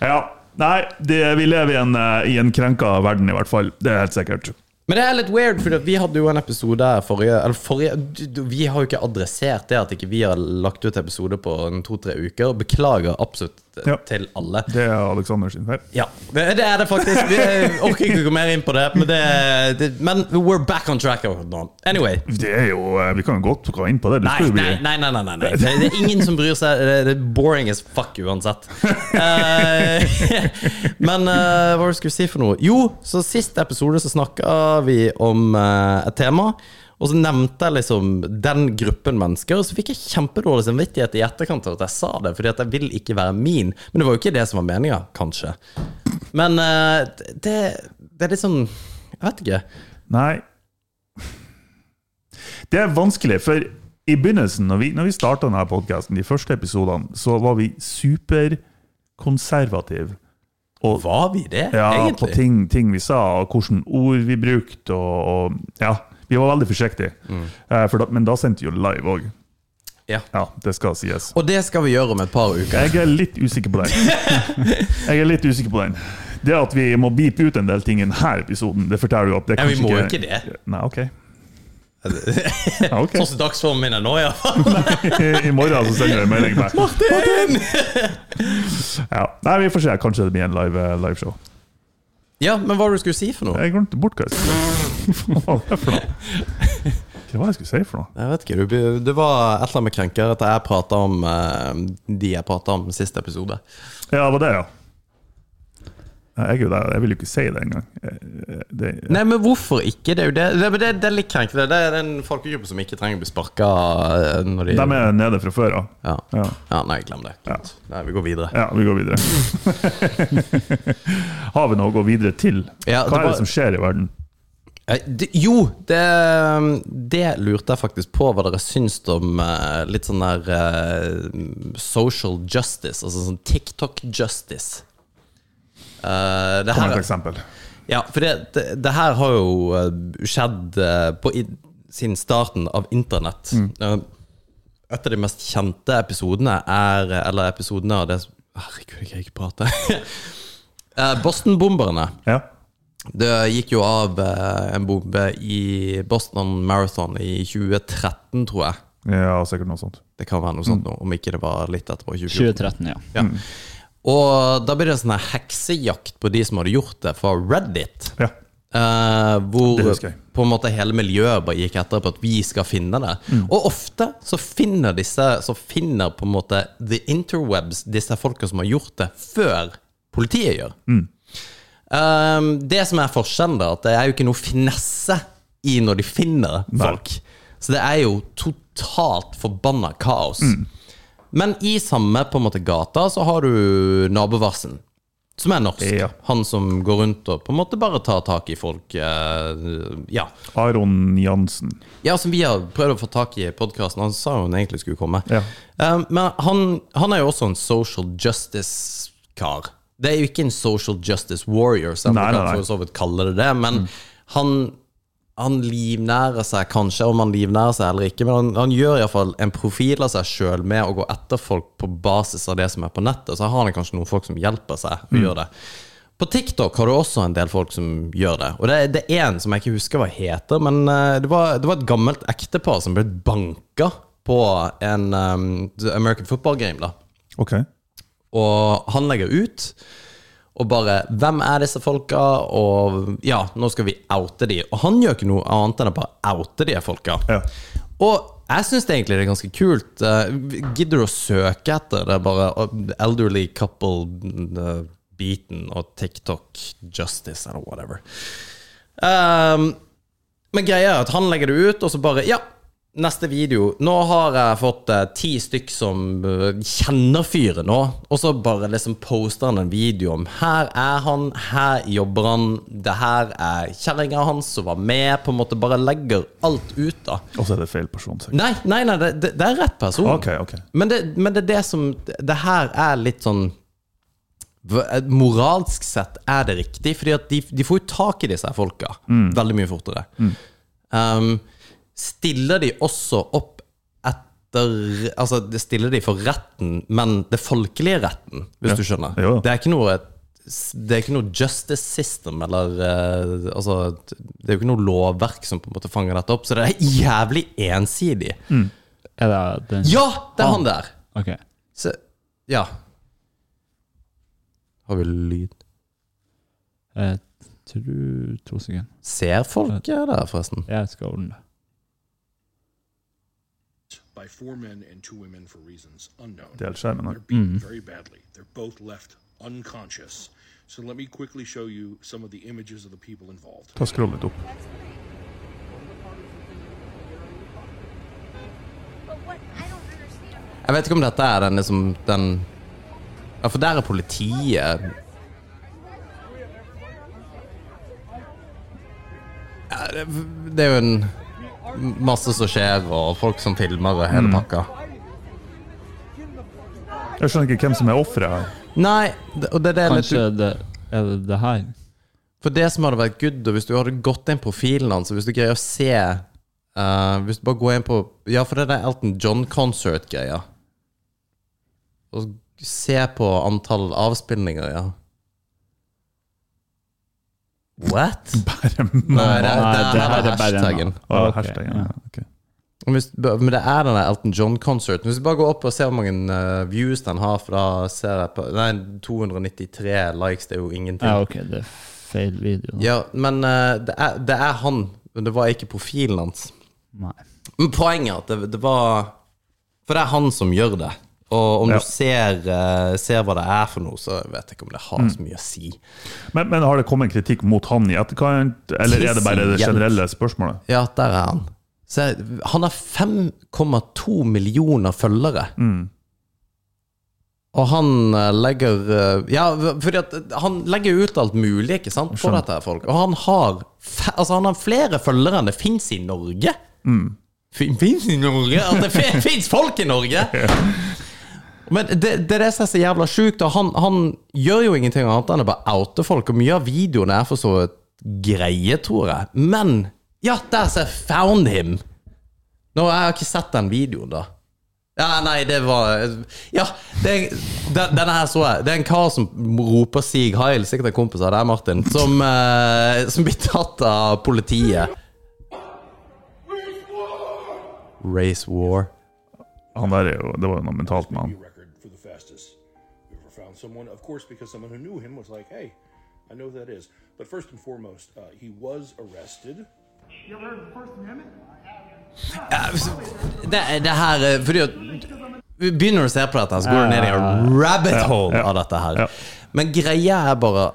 Ja. Nei, det, vi lever i en, eh, i en krenka verden, i hvert fall. Det er helt sikkert.
Men det er litt weird, for vi hadde jo en episode her forrige Eller forrige du- du- Vi har jo ikke adressert det at ikke vi har lagt ut episode på en to-tre uker. og Beklager absolutt eh,
Ja.
til alle.
Det er Aleksander sin feil.
Ja, det det er det faktisk. Vi eh, orker ikke å gå mer inn på det. Men, det, det, men we're back on track. Adnan. Anyway.
Det er jo, eh, Vi kan jo godt gå inn på det. Du
Nei,
skal jo bli
nei, nei, nei, nei, nei, nei. Det, det er ingen som bryr seg. Det, det er boring as fuck uansett. Eh, men eh, hva var det jeg skulle si for noe? Jo, så sist episode så snakka vi om eh, et tema. Og så nevnte jeg liksom den gruppen mennesker, og så fikk jeg kjempedårlig samvittighet i etterkant av at jeg sa det, fordi at jeg vil ikke være min. Men det var jo ikke det som var meninga, kanskje. Men eh, det, det er litt sånn Jeg vet ikke.
Nei. Det er vanskelig, for i begynnelsen, når vi, når vi starta denne podkasten, de første episodene, så var vi superkonservative. Og
Var vi det,
ja, på
egentlig?
ting, ting vi sa, og hvilke ord vi brukte, og, og Ja, vi var veldig forsiktige. Eh, for da, men da sendte vi jo live òg.
Mm. Ja.
Ja, det skal sies.
Og det skal vi gjøre om et par uker.
Jeg er litt usikker på den. Jeg er litt usikker på den. Det at vi må beepe ut en del ting i denne episoden, det forteller jo at det
Ja, vi
kanskje
må jo ikke det.
Nei, ok. Ja, ok.
Sånn som dagsformen min er nå, ja.
I morgen så sender jeg en melding med
Martin!
ja. Nei, vi får se. Kanskje det blir en live eh, liveshow.
Ja, men hva var det du skulle si for noe?
Jeg glemte bort hva jeg skulle si. Hva var det for noe? Hva var det jeg skulle si for noe?
Jeg vet ikke, du, ble- Det var et eller annet med krenker at jeg prata om eh, de jeg prata om sist episode.
Ja, det var det, ja. Nei, Jeg er jo der. Jeg vil jo ikke si det engang. Eh, Det,
Nei, men hvorfor ikke? Det er jo det, det, det, det er litt krenkende. Det er en folkegruppe som ikke trenger å bli sparka når de
de er nede fra før av.
ja.
Ja.
ja, nei, glem det. Nei, vi går videre.
ja, vi går videre. Har vi noe å gå videre til?
Ja, det
Hva er
var-
det som skjer i verden?
Eh, det- Jo, det, det lurte jeg faktisk på hva dere syns om eh, litt sånn der eh, social justice, altså sånn TikTok-justice. Eh, det
Kom med
her,
et eksempel.
ja, for det, det, det her har jo eh, skjedd eh, på, i, siden starten av internett. Eh, et av de mest kjente episodene er eh, Eller episodene av det som- Herregud, jeg kan ikke prate. Eh, Boston-bomberne.
Ja.
Det gikk jo av eh, en bombe i Boston Marathon i 2013, tror jeg.
ja, sikkert noe sånt.
Det kan være noe sånt nå, om ikke det var litt etterpå. 2014.
2013, ja.
Ja. Og da blir det en sånn her heksejakt på de som hadde gjort det, fra Reddit.
Ja.
Eh, hvor
Det husker jeg.
på en måte hele miljøet bare gikk etter på at vi skal finne det.
Mm.
Og ofte så finner disse Så finner på en måte the interwebs disse folka som har gjort det, før politiet gjør.
Mm.
Eh, det som er forskjellen, da, at det er jo ikke noe finesse i når de finner folk. Så det er jo totalt forbanna kaos.
Mm.
Men i samme på en måte gata så har du nabovarsen, som er norsk.
Ja.
Han som går rundt og på en måte bare tar tak i folk. eh, ja.
Aron Jansen.
ja, som vi har prøvd å få tak i i podkasten. Han sa jo hun egentlig skulle komme.
Ja.
Eh, men han, han er jo også en social justice-kar. Det er jo ikke en social justice warrior, selv om
Nei,
man
nei,
kan
nei.
for så vidt kalle det det. Men han, han livnærer seg kanskje, om han livnærer seg eller ikke, men han, han gjør iallfall en profil av seg sjøl med å gå etter folk på basis av det som er på nettet. Så har han kanskje noen folk som hjelper seg
Mm.
å gjøre det. På TikTok har du også en del folk som gjør det. Og det, er- det er en som jeg ikke husker hva heter, men eh, det var, det var et gammelt ektepar som ble banka på en eh, American football game, da.
Ok.
Og han legger ut og bare 'Hvem er disse folka?' Og ja, nå skal vi oute de. Og han gjør ikke noe annet enn å bare oute de folka.
Ja.
Og jeg syns egentlig det er ganske kult. Eh, Gidder du å søke etter det? Bare eh, 'elderly couple eh, beaten' og 'TikTok justice' eller whatever. Um, men greia er at han legger det ut, og så bare Ja, neste video. Nå har jeg fått eh, ti stykk som eh, kjenner fyren nå. Og så bare liksom poster han en video om Her er han, her jobber han, det her er kjerringa hans som var med. På en måte bare legger alt ut, da.
Og så er det feil person, sikkert.
Nei, nei, nei, det, det, det er rett person.
Ok, ok.
Men det, men det er det som Det her er litt sånn v- Moralsk sett er det riktig, Fordi at de, de får jo tak i disse her folka
Mm.
veldig mye fortere. Um, stiller de også opp etter Altså, det stiller de for retten, men det folkelige retten, hvis
Ja.
du skjønner.
Jo.
Det er ikke noe det er ikke noe justice system, eller eh, Altså, det er jo ikke noe lovverk som på en måte fanger dette opp, så det er jævlig ensidig.
Er det den?
Ja, det er han der!
Ok.
Så, ja. Har vi lyd?
Jeg tror Eh, To sekunder.
Ser folk er der, forresten?
Jeg skal ordne det.
by four men and two women for reasons unknown.
Delskjermen her.
They're beaten very badly. They're both left unconscious. So let me quickly show you some of the images of the people involved.
Ta Skroll litt opp.
Jeg vet ikke om dette er den liksom den Ja, for der er politiet ja, det, det er jo en masse som skjer, og folk som filmer og hele pakka.
Jeg skjønner ikke hvem som er offeret her.
Nei, det- og det er det litt
Kanskje det er det, det her?
For det som hadde vært good, og hvis du hadde gått inn profilen hans, og hvis du greier å se Eh, hvis du bare går inn på Ja, for det er den Elton John-concert-greia. Og se på antall avspillinger, ja. What?
Bare
Nei, det, det,
Nei,
det,
her
er
er bare en-
hashtaggen.
Å,
Ok,
hashtaggen, ja,
ja.
Ah, ok.
Men Hvis, men det er den der Elton John-konserten. Hvis du bare går opp og ser hvor mange eh, views den har fra ser jeg på, Nei, 293 likes, det er jo ingenting. Ja,
Ja, ok, det er feil video. da.
men eh, det, er, det er han. Men det var ikke profilen hans.
Nei.
Men poenget er at det, det var For det er han som gjør det. Og om
Ja.
du ser, eh, ser hva det er for noe, så vet jeg ikke om det har så mye å si.
Men, men har det kommet kritikk mot han i etterkant, eller er det bare det
Hjelp.
generelle spørsmålet?
Ja, der er han. Se, han har 5,2 millioner følgere. Og han eh, legger eh, Ja, fordi at eh, han legger ut alt mulig, ikke sant, på dette her folk. Og han har, fe- altså, han har flere følgere enn det fins i Norge. Fin- Fins i Norge? At det fins folk i Norge! Men det, det er det som er så jævla sjukt, og han, han gjør jo ingenting annet enn å bare oute folk, og mye av videoene er for så vidt greie, tror jeg. Men ja, there's I found him! Nå, jeg har ikke sett den videoen, da. Ja, nei, det var Ja, det, den, denne her så jeg. Det er en kar som roper Sig Heil, sikkert en kompis av deg, Martin, som, eh, som blir tatt av politiet. Race war.
Han der er jo, Det var jo noe mentalt med han.
Your record for the fastest we ever found someone, of course, because someone who knew him was like, hey, I know who that is. But first and foremost, uh, he was arrested.
You ever heard of the First Amendment?
Det, det her eh, Fordi at vi begynner å se på dette, så går du ned i en rabbit hole av dette her.
ja.
Men greia er bare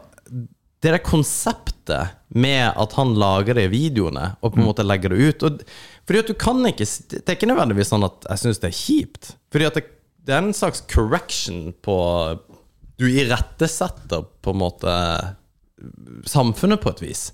Det der konseptet med at han lager det i videoene, og
Mm.
på en måte legger det ut og, Fordi at du kan ikke s- Det er ikke nødvendigvis sånn at jeg syns det er kjipt. Fordi at det, det er en slags correction på Du irettesetter på en måte samfunnet på et vis.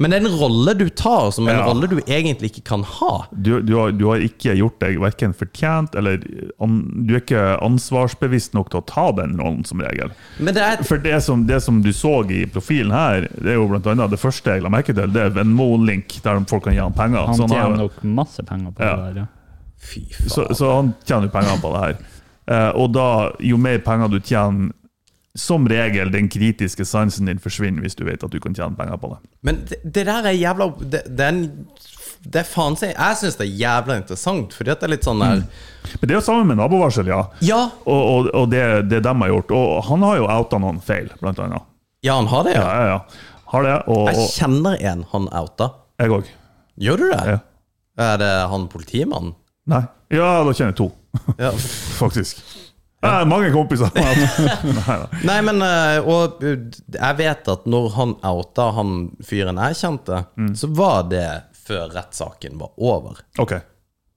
Men det er en rolle du tar, som en
Ja.
rolle du egentlig ikke kan ha.
Du, du, har, du har ikke gjort deg verken fortjent eller an, Du er ikke ansvarsbevisst nok til å ta den rollen, som regel.
Men det er et
For det som, det som du så i profilen her, det er jo blant annet det første jeg la merke til, det er Venmo-link, der folk kan gi han penger.
Han
Så har-
tjener nok masse penger på
Sånn Ja.
det der, ja.
Fy faen.
Så, så han tjener jo penger på det her. Eh, og da, jo mer penger du tjener, som regel den kritiske sansen din forsvinner hvis du vet at du kan tjene penger på det.
Men det, det der er jævla Det, det er en det er faen seg Jeg syns det er jævla interessant, fordi at det er litt sånn der
Men det er jo sammen med nabovarsel, Mm. ja.
Ja,
Og, og, og det, det de har gjort. Og han har jo outa noen feil, blant annet.
ja han har det, ja.
Ja, ja, ja. Har det, og,
Jeg
og
kjenner en han outa.
jeg òg.
Gjør du det?
Ja.
Er det han politimannen?
Nei. Ja, da kjenner jeg to,
Ja.
faktisk. Jeg har mange kompiser.
Nei, men eh, Og eh, jeg vet at når han outa han fyren jeg kjente,
Mm.
så var det før rettssaken var over.
OK.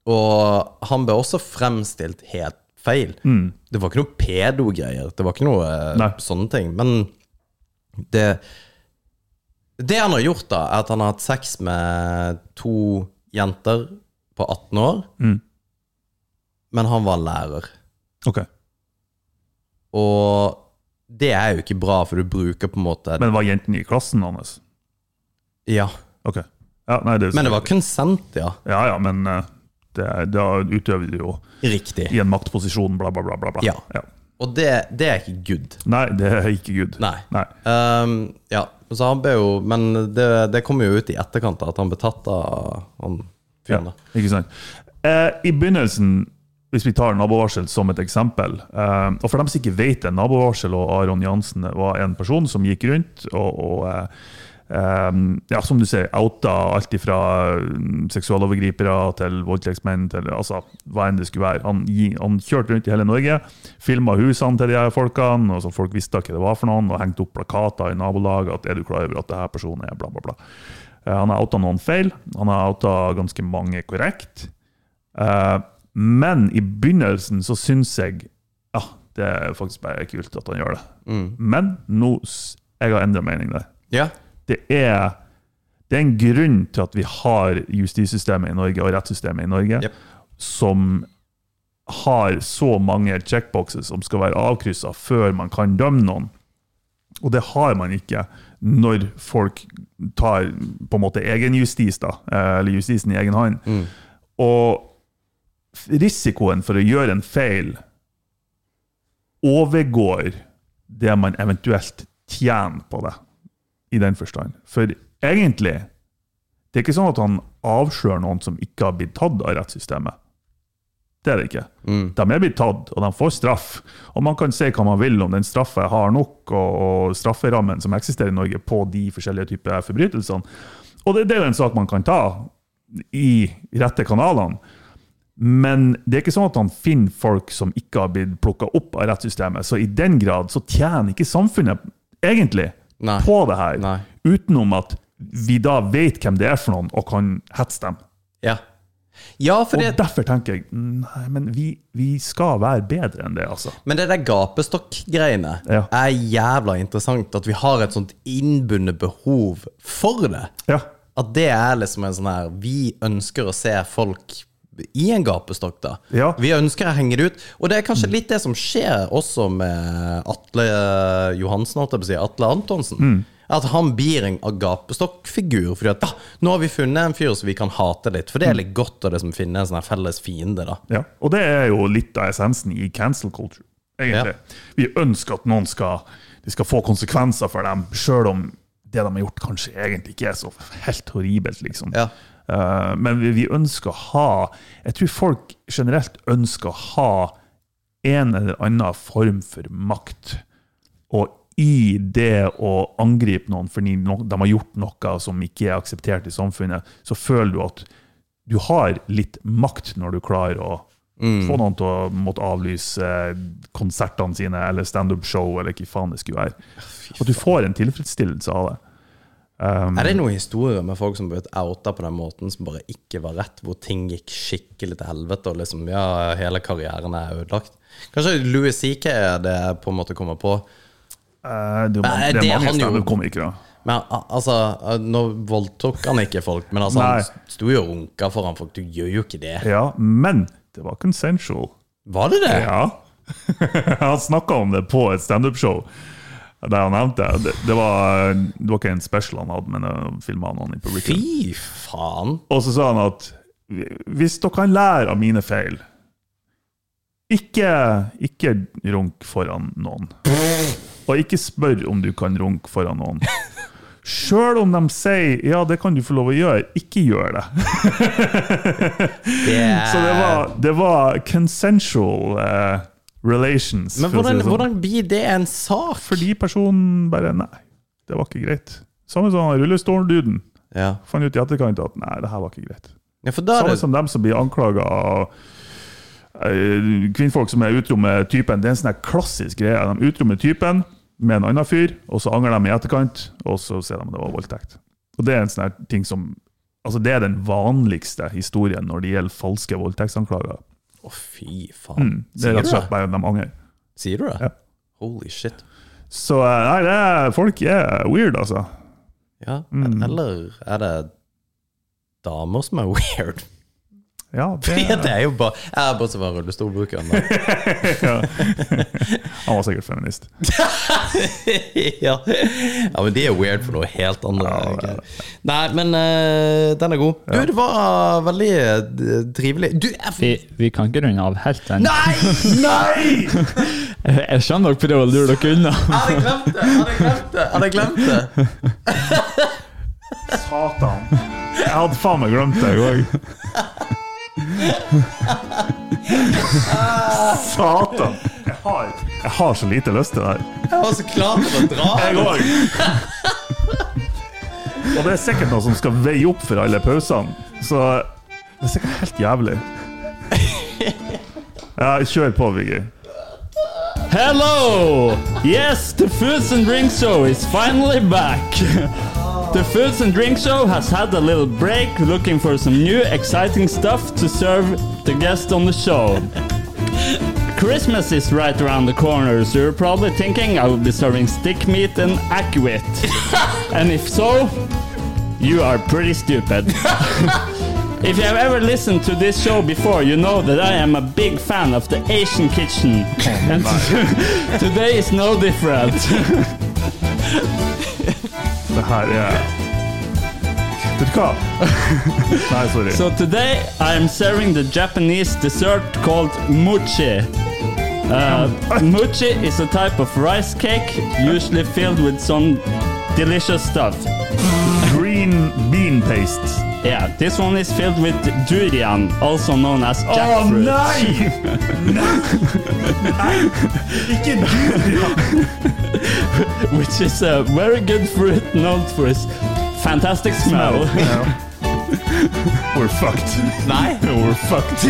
Og han ble også fremstilt helt feil. Det var ikke noe pedo-greier. Det var ikke noe eh,
Mm. Nei.
sånne ting. Men det Det han har gjort, da, er at han har hatt sex med to jenter på 18 år.
Mm.
Men han var lærer.
ok.
Og det er jo ikke bra, for du bruker på en måte
Men var jentene i klassen hans?
Ja.
OK. Ja, nei, det,
Men det var konsent, ja.
Ja, ja, men eh, det, da utøver du jo
Riktig.
i en maktposisjon, bla, bla, bla. bla. bla.
Ja. Og det, det er ikke good.
Nei, det er ikke good.
Nei. Ehm, ja, så han ble jo Men det, det kom jo ut i etterkant da, at han ble tatt av han
Ja,
fyren. da.
ikke sant. Eh, I begynnelsen, hvis vi tar nabovarsel som et eksempel eh, Og for dem som ikke vet det, nabovarsel og Aron Jansen var en person som gikk rundt og, og eh, eh, ja, som du sier, outa alt ifra eh, seksualovergripere til voldtektsmenn til altså, hva enn det skulle være. Han, gi- han kjørte rundt i hele Norge, filma husene til de her folkene, og så folk visste hva det var for noen, og hengte opp plakater i nabolaget at er du klar over at det her personen er bla, bla, bla. Eh, Han har outa noen feil. Han har outa ganske mange korrekt. Eh, Men i begynnelsen så syns jeg ja, det er faktisk bare kult at han gjør det. Men nå s- jeg har endra mening der.
Ja.
Det er, det er en grunn til at vi har justissystemet i Norge og rettssystemet i Norge
Jep.
som har så mange checkboxer som skal være avkryssa før man kan dømme noen. Og det har man ikke når folk tar på en måte egen justis, da, eh, eller justisen i egen hånd. Og f- risikoen for å gjøre en feil overgår det man eventuelt tjener på det, i den forstand. For egentlig det er ikke sånn at han avslører noen som ikke har blitt tatt av rettssystemet. Det er det ikke. De er blitt tatt, og de får straff. Og man kan si hva man vil om den straffa er hard nok, og, og strafferammen som eksisterer i Norge på de forskjellige typer forbrytelsene. Og det, det er jo en sak man kan ta i rette kanalene. Men det er ikke sånn at han finner folk som ikke har blitt plukka opp av rettssystemet. Så i den grad så tjener ikke samfunnet egentlig
Nei.
på det her,
Nei.
utenom at vi da vet hvem det er for noen, og kan hetse dem.
Ja. Ja, for
Og
det,
derfor tenker jeg nei, men vi, vi skal være bedre enn det, altså.
Men det der gapestokk-greiene
Ja.
er jævla interessant. At vi har et sånt innbundet behov for det.
Ja.
At det er liksom en sånn her Vi ønsker å se folk i en gapestokk, da.
Ja.
Vi ønsker å henge det ut. Og det er kanskje litt det som skjer også med Atle Johansen, holdt jeg på å si. Atle Antonsen. At han blir en gapestokkfigur. Fordi at ja, nå har vi funnet en fyr som vi kan hate litt. For det er litt godt å liksom finne en sånn her felles fiende, da.
ja. Og det er jo litt av essensen i cancel culture, egentlig. Vi ønsker at noen skal, det skal få konsekvenser for dem, sjøl om det de har gjort, kanskje egentlig ikke er så helt horribelt, liksom.
Ja.
Eh, men vi, vi ønsker å ha Jeg tror folk generelt ønsker å ha en eller annen form for makt. Og i det å angripe noen fordi no- de har gjort noe som ikke er akseptert i samfunnet, så føler du at du har litt makt når du klarer å
Mm.
få noen til å måtte avlyse eh, konsertene sine eller standup-show eller hva faen det skulle være. At du får en tilfredsstillelse av det.
Er det noen historier med folk som ble outa på den måten som bare ikke var rett, hvor ting gikk skikkelig til helvete, og liksom ja, hele karrieren er ødelagt? Kanskje Louis CK er det jeg på en måte kommer på.
Eh, Det er,
Nei,
mange- det
det
er mange
han gjorde.
standup-komikere.
Men al- altså, nå voldtok han ikke folk, men altså,
Nei.
han sto jo og runka foran folk. Du gjør jo ikke det.
Ja, men det var consensual.
Var det det?
Ja. Han snakka om det på et standup-show. Der han nevnte det. det. Det var, det var ikke en special han hadde, men filma noen i publikum.
Fy faen.
Og så sa han at hvis dere kan lære av mine feil ikke, ikke runk foran noen. Og ikke spør om du kan runke foran noen. Sjøl om de sier 'ja, det kan du få lov å gjøre', ikke gjør det.
Det er...
Så det var,
Eh.
det var consensual eh, relations.
Men
for å si
hvordan,
det sånn.
hvordan blir det en sak?
Fordi personen bare Nei, det var ikke greit. Samme som han rullestol-duden.
Ja.
Fant ut i etterkant at nei, det her var ikke greit.
ja, for da er
Samme
det
som dem som blir anklaga av eh, kvinnfolk som er utro med typen. Det er en sånn her klassisk greie. De er utro med typen med en annen fyr, og så angrer de i etterkant, og så ser de at det var voldtekt. Og det er en sånn her ting som Altså, det er den vanligste historien når det gjelder falske voldtektsanklager.
Å, fy faen.
Mm, Det er
Sier
rett og
du
slett
det?
bare de angrer.
Sier du det?
Ja.
Holy shit.
Så eh, nei, det er, folk er weird, altså.
Ja, eller er det damer som er weird?
Ja, det,
Ja, det er jo bare Jeg er bare som en rullestolbruker. men-
Han var sikkert feminist.
ja. ja, men de er weird for noe helt annet. egentlig. Nei, men eh, den er god. Du, det var veldig eh, trivelig. Du, jeg
Vi, vi kan ikke runde av helt ennå.
Nei! Nei!
Jeg skjønner dere prøver å lure dere unna.
Jeg hadde glemt det! Jeg hadde glemt det! Jeg hadde glemt det.
Satan. Jeg hadde faen meg glemt det, jeg òg. Satan. Jeg har, jeg har så lite lyst til det her.
Jeg var så klar til å dra.
Jeg òg. Og det er sikkert noe som skal veie opp for alle pausene, så det er sikkert helt jævlig. Ja, kjør på, Viggy.
Hello! Yes, the Foods and Drink Show is finally back. the Foods and Drink Show has had a little break looking for some new exciting stuff to serve the guests on the show. Christmas is right around the corner, so you're probably thinking I will be serving stick meat and aquavit. and if so, you are pretty stupid. If you have ever listened to this show before, you know that I am a big fan of the Asian kitchen. and today is no different.
Det her er Vet du hva? Nei, sorry.
So today I am serving the Japanese dessert called mochi. Uh, mochi is a type of rice cake, usually filled with some delicious stuff.
Green bean paste.
Yeah, this one is filled with durian, also known as
Å
jackfruit.
nei!
Which is a very good fruit known for its fantastic smell.
We're fucked.
Nei?
We're fucked.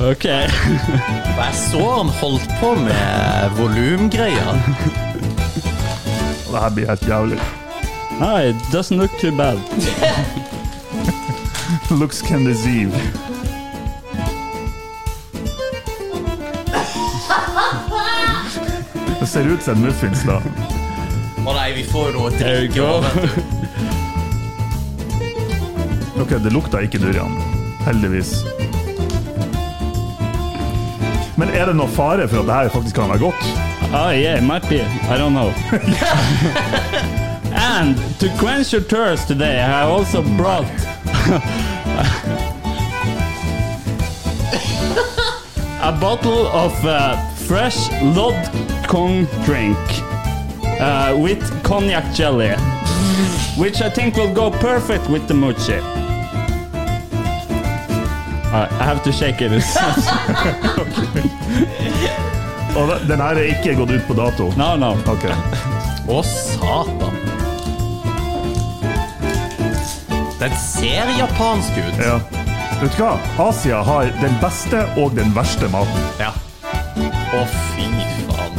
okay.
Jeg så han holdt på med volumgreier.
Det her blir helt jævlig.
Ah, it doesn't look too bad.
Looks can deceive. Det ser ut som en muffins, da.
Å nei, vi får jo noe
There you go.
Ok, det lukta ikke durian. Heldigvis. Men er det noe fare for at det her faktisk kan være godt?
Oh yeah, it might be. I don't know. and to quench your thirst today, I also brought. a bottle of uh, fresh Lod Kong drink uh, with cognac jelly, which I think will go perfect with the mochi. Uh, I have to shake it.
Og de- den her er ikke gått ut på dato.
no, no.
Ok.
Å, satan. Den ser japansk ut.
Ja. Vet du hva? Asia har den beste og den verste maten.
Ja. Å, fy faen.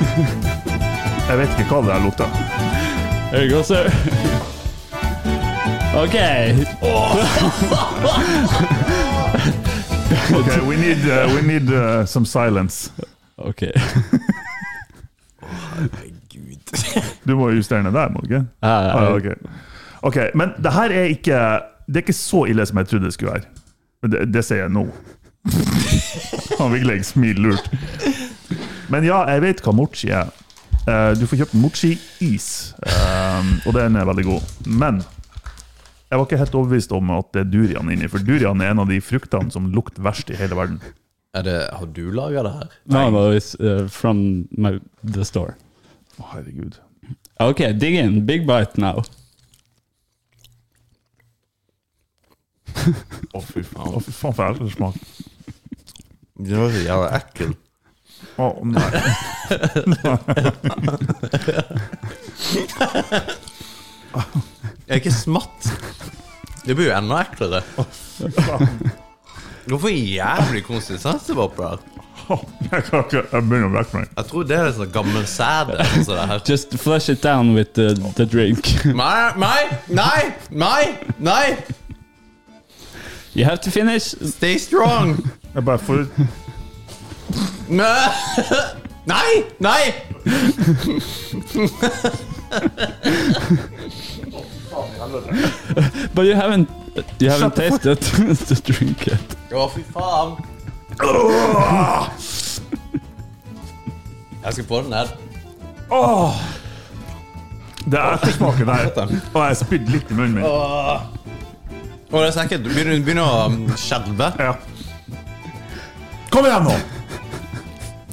Jeg vet ikke hva det her lukter.
There you go, sir. okay.
Ok, we need, uh, we need uh, some silence.
Okay.
Du må justere ned der, må du ikke? Ah, ok. ok, men det her er ikke Det er ikke så ille som jeg trodde det skulle være. Men det, det sier jeg nå. Han Vigleik smiler lurt. Men ja, jeg vet hva mochi er. Eh, Du får kjøpt mochi-is, eh, og den er veldig god. Men jeg var ikke helt overbevist om at det er durian inni, for durian er en av de fruktene som lukter verst i hele verden.
Er det, har du laga det her?
No, no, it's uh, from my, the store.
Å, herregud.
Okay, dig in. Big bite now.
Å, fy faen. Å, fy faen for helvete smak.
Det var så jævla ekkelt.
Å, nei.
Jeg er ikke smatt. Det blir jo enda eklere. Hvorfor jævlig konsistens det var på det her?
Jeg, kan ikke, jeg begynner å brekke meg.
Jeg tror det er sånn gammel sæd. eller noe sånt der her.
Just flush it down with the, the drink.
Nei, nei, nei, nei! nei.
you have to finish.
Stay strong!
Jeg bare får
Nei, nei! nei.
But you haven't you haven't tasted the drink yet.
Å, fy faen. Jeg skal få den her.
Åh! Det er ettersmaken der. Og jeg spydde litt i munnen min.
Å, det er så ekkelt. Du begynner, begynner å um, skjelve.
Ja. Kom igjen, nå!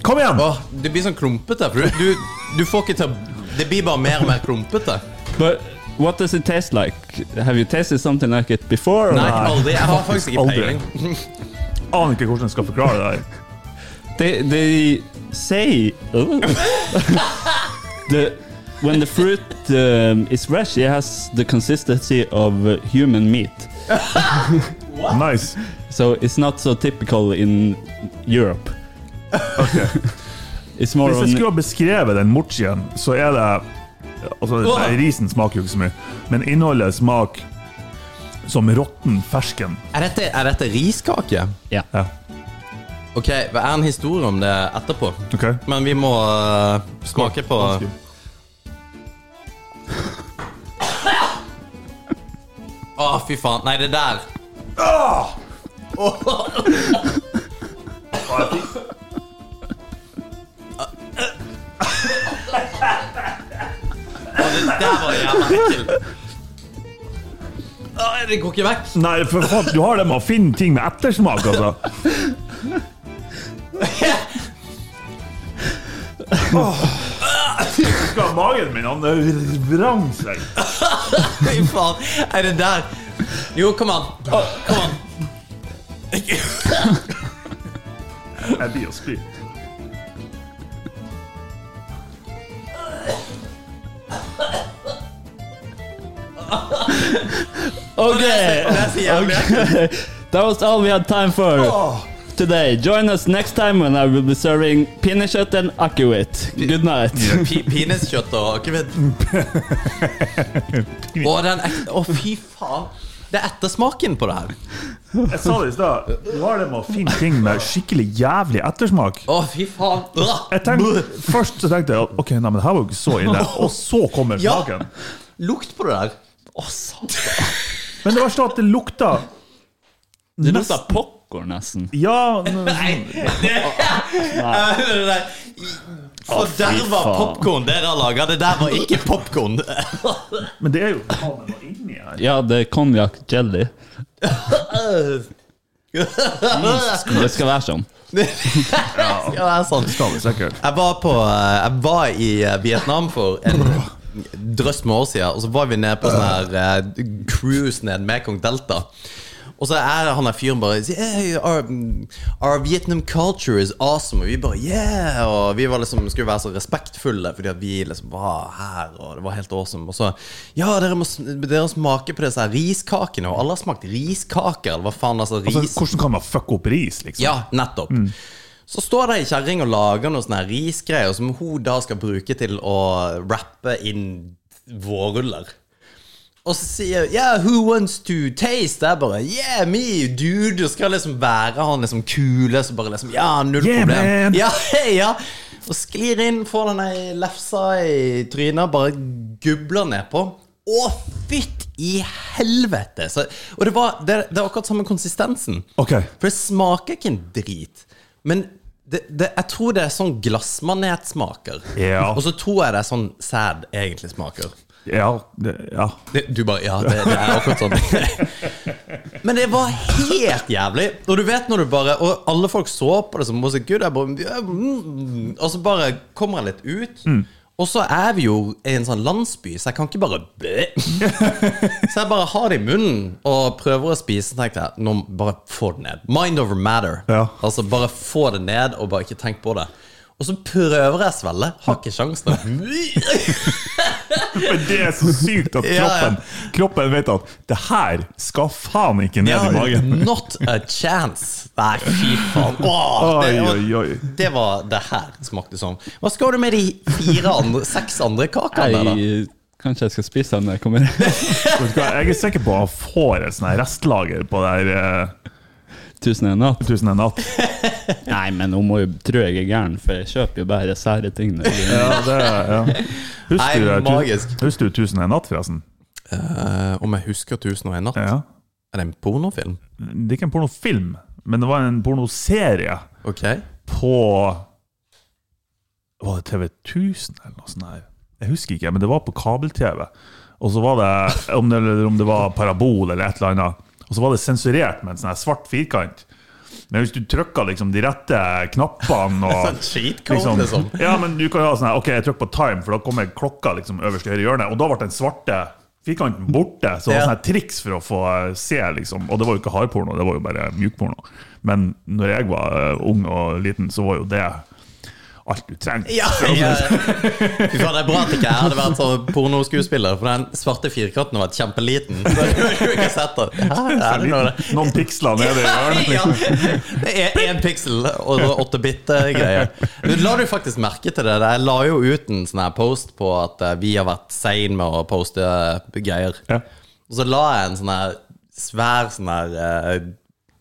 Kom igjen!
Åh, det blir sånn klumpete. For du, du, du får ikke til å- Det blir bare mer og mer klumpete.
But what does it taste like? Have you tasted something like it before? or-
Nei, aldri. Jeg har faktisk ikke
Aldri.
peiling.
Aner ikke hvordan jeg skal forklare det her.
They they say "Oh." the when the fruit um, is fresh, it has the consistency of uh, human meat.
Nice.
So it's not so typical in Europe. it's more
Hvis jeg
on
skulle ha beskrevet den mochien, så er det Altså, nei, risen smaker jo ikke så mye, men innholdet smaker som råtten fersken.
Er dette, er dette riskake?
yeah.
Ja.
Ok, hva er en historie om det etterpå?
Ok.
Men vi må øh, smake på Å, fy faen. Nei, det der. Der var det jævla ekkel. Åh, Det går ikke vekk.
Nei, for faen, du har det med å finne ting med ettersmak, altså. Åh. Skal magen min han vrang seg.
Fy faen. Er det der? Jo, kom an. Åh, Kom an.
Jeg blir å spy.
Okay.
That's the jævlig ekkel.
That was all we had time for today. Join us next time when I will be serving pinnekjøtt and akevitt. Good night.
Pi- Peniskjøtt og akevitt. Å, den ek- Å, fy faen. Det er ettersmaken på det her.
Jeg sa det i stad. Du har det med å finne ting med skikkelig jævlig ettersmak.
Å, fy faen. Åh.
Jeg tenkte, først så tenkte jeg at ok, nei, men det her var jo ikke så ille. Og så kommer
Ja.
smaken.
Lukt på det der. Å, satan.
Men det verste var sånn at det lukta
Det lukter popkorn, nesten.
Ja, men-
Det der. Forderva
faen.
popkorn dere har laga. Det der var ikke popkorn.
men det er jo faen meg noe inni her.
Ja, det er konjakk jelly. Det skal være sånn.
Ja, det er sant.
Skal vi sikkert.
Jeg var, på, eh, jeg var i eh, Vietnam for en drøss med år siden, og så var vi nede på sånn her eh, cruise ned med Kong Delta. Og så er han der fyren bare sier, hey, our, our Vietnam culture is awesome. Og vi bare yeah! Og vi var liksom, skulle være så respektfulle fordi at vi liksom var her, og det var helt awesome. Og så ja, dere må sm- dere smake på disse her riskakene. Og alle har smakt riskaker, eller hva faen? Altså, ris
Altså, hvordan kan man fucke opp ris, liksom?
ja, nettopp. Så står det ei kjerring og lager noen sånne her risgreier som hun da skal bruke til å rappe inn vårruller. Og så sier hun, Yeah, who wants to taste? Det er bare Yeah, me, dude. Og skal liksom være han liksom kule som bare liksom Ja, null
Yeah,
problem.
man.
Ja, ja. Og sklir inn, får den ei lefsa i trynet, bare gubler nedpå. Å, fytt i helvete! Så, og det var, det, det var akkurat samme konsistensen.
Ok.
For det smaker ikke en drit. Men det, det, jeg tror det er sånn glassmanet smaker.
Ja.
Og så tror jeg det er sånn sæd egentlig smaker.
Ja, det, ja.
Det, du bare Ja, det, det er akkurat sånn. Men det var helt jævlig. Og du vet når du bare Og alle folk så på det som Mose Gud. Jeg bare, ja, mm, og så bare kommer jeg litt ut. Og så er vi jo i en sånn landsby, så jeg kan ikke bare bæ. Så jeg bare har det i munnen og prøver å spise. Så tenkte jeg nå bare få det ned. Mind over matter.
Ja.
Altså Bare få det ned, og bare ikke tenk på det. Og så prøver jeg å svelle. Har ikke sjansen.
Men det er så sykt at
Ja, ja.
kroppen, kroppen vet at det her skal faen ikke ned i
Ja,
magen.
not a chance. Nei, fy faen. Åh,
Oi,
det, var,
oi, oi.
det var det her smakte som. Hva skal du med de fire andre, seks andre kakene der, da?
Jeg, kanskje jeg skal spise den når jeg kommer
Vet du hva, Jeg er sikker på at han får et sånt her restlager på det her eh,
Tusen og en natt.
Tusen en natt.
Nei, men hun må jo tro jeg er gæren, for jeg kjøper jo bare sære ting. når jeg-
Ja, det, ja.
Nei,
Husker, du det,
magisk.
tu- husker du Tusen en natt, forresten?
Eh, om jeg husker 'Tusen og en natt'?
Ja.
Er det en pornofilm?
Det er ikke en pornofilm, men det var en pornoserie
Ok.
på Var det TV 1000 eller noe sånt? her? Jeg husker ikke, men det var på kabel-TV. Og så var det om det, eller om det var parabol eller et eller annet. Og så var det sensurert med en sånn her svart firkant. Men hvis du trykka liksom de rette knappene og
Sånn cheat code, liksom.
Ja, men du kan jo ha sånn her OK, jeg trykker på time, for da kommer klokka liksom øverst i høyre hjørne. Og da ble den svarte firkanten borte. Så det var
Ja.
sånn her triks for å få se, liksom. Og det var jo ikke hardporno, det var jo bare mjukporno. Men når jeg var eh, ung og liten, så var jo det alt du trengte.
Ja, ja. Fy faen, det er bra at ikke jeg hadde vært sånn pornoskuespiller, for den svarte firkanten har vært kjempeliten. Så jeg har ikke sett det. Ja, er det noe?
Noen piksler nede i hjørnet.
Ja,
Liksom.
det er én piksel og så åtte bit-greier. La du faktisk merke til det? Jeg la jo ut en sånn her post på at eh, vi har vært sein med å poste eh, greier.
Ja.
Og så la jeg en sånn her svær sånn her eh,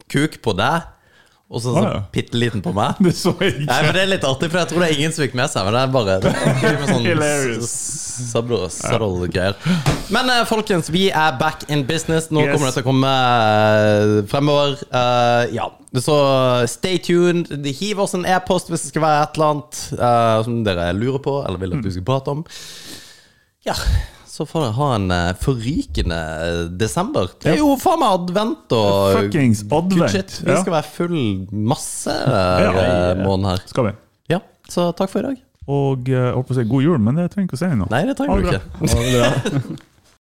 kuk på deg. Og så sånn
Å, ja.
bitte liten på meg.
liksom, Det så jeg
Nei,
ikke.
men Det er litt artig, for jeg tror det er ingen som fikk med seg. Men det er bare det er en fyr med sånn
Hilarious.
s- sabro- saroll-greier. Men eh, folkens, vi er back in business. Nå
Yes.
kommer det til å komme eh, fremover. Eh, ja, Så stay tuned. Hiv oss en e-post hvis det skal være et eller annet eh, som dere lurer på eller vil at vi
Mm.
skal prate om. Ja, så får dere ha en eh, forrykende eh, desember. Det er jo faen meg advent og
Fuckings advent.
Shit, vi
Ja.
skal være full masse eh,
Ja.
måneden her.
Skal vi?
Ja, så takk for i dag.
Og eh, jeg holdt på å si god jul, men det trenger jeg ikke å si nå.
Nei, det trenger du
Ha det
ikke.
bra.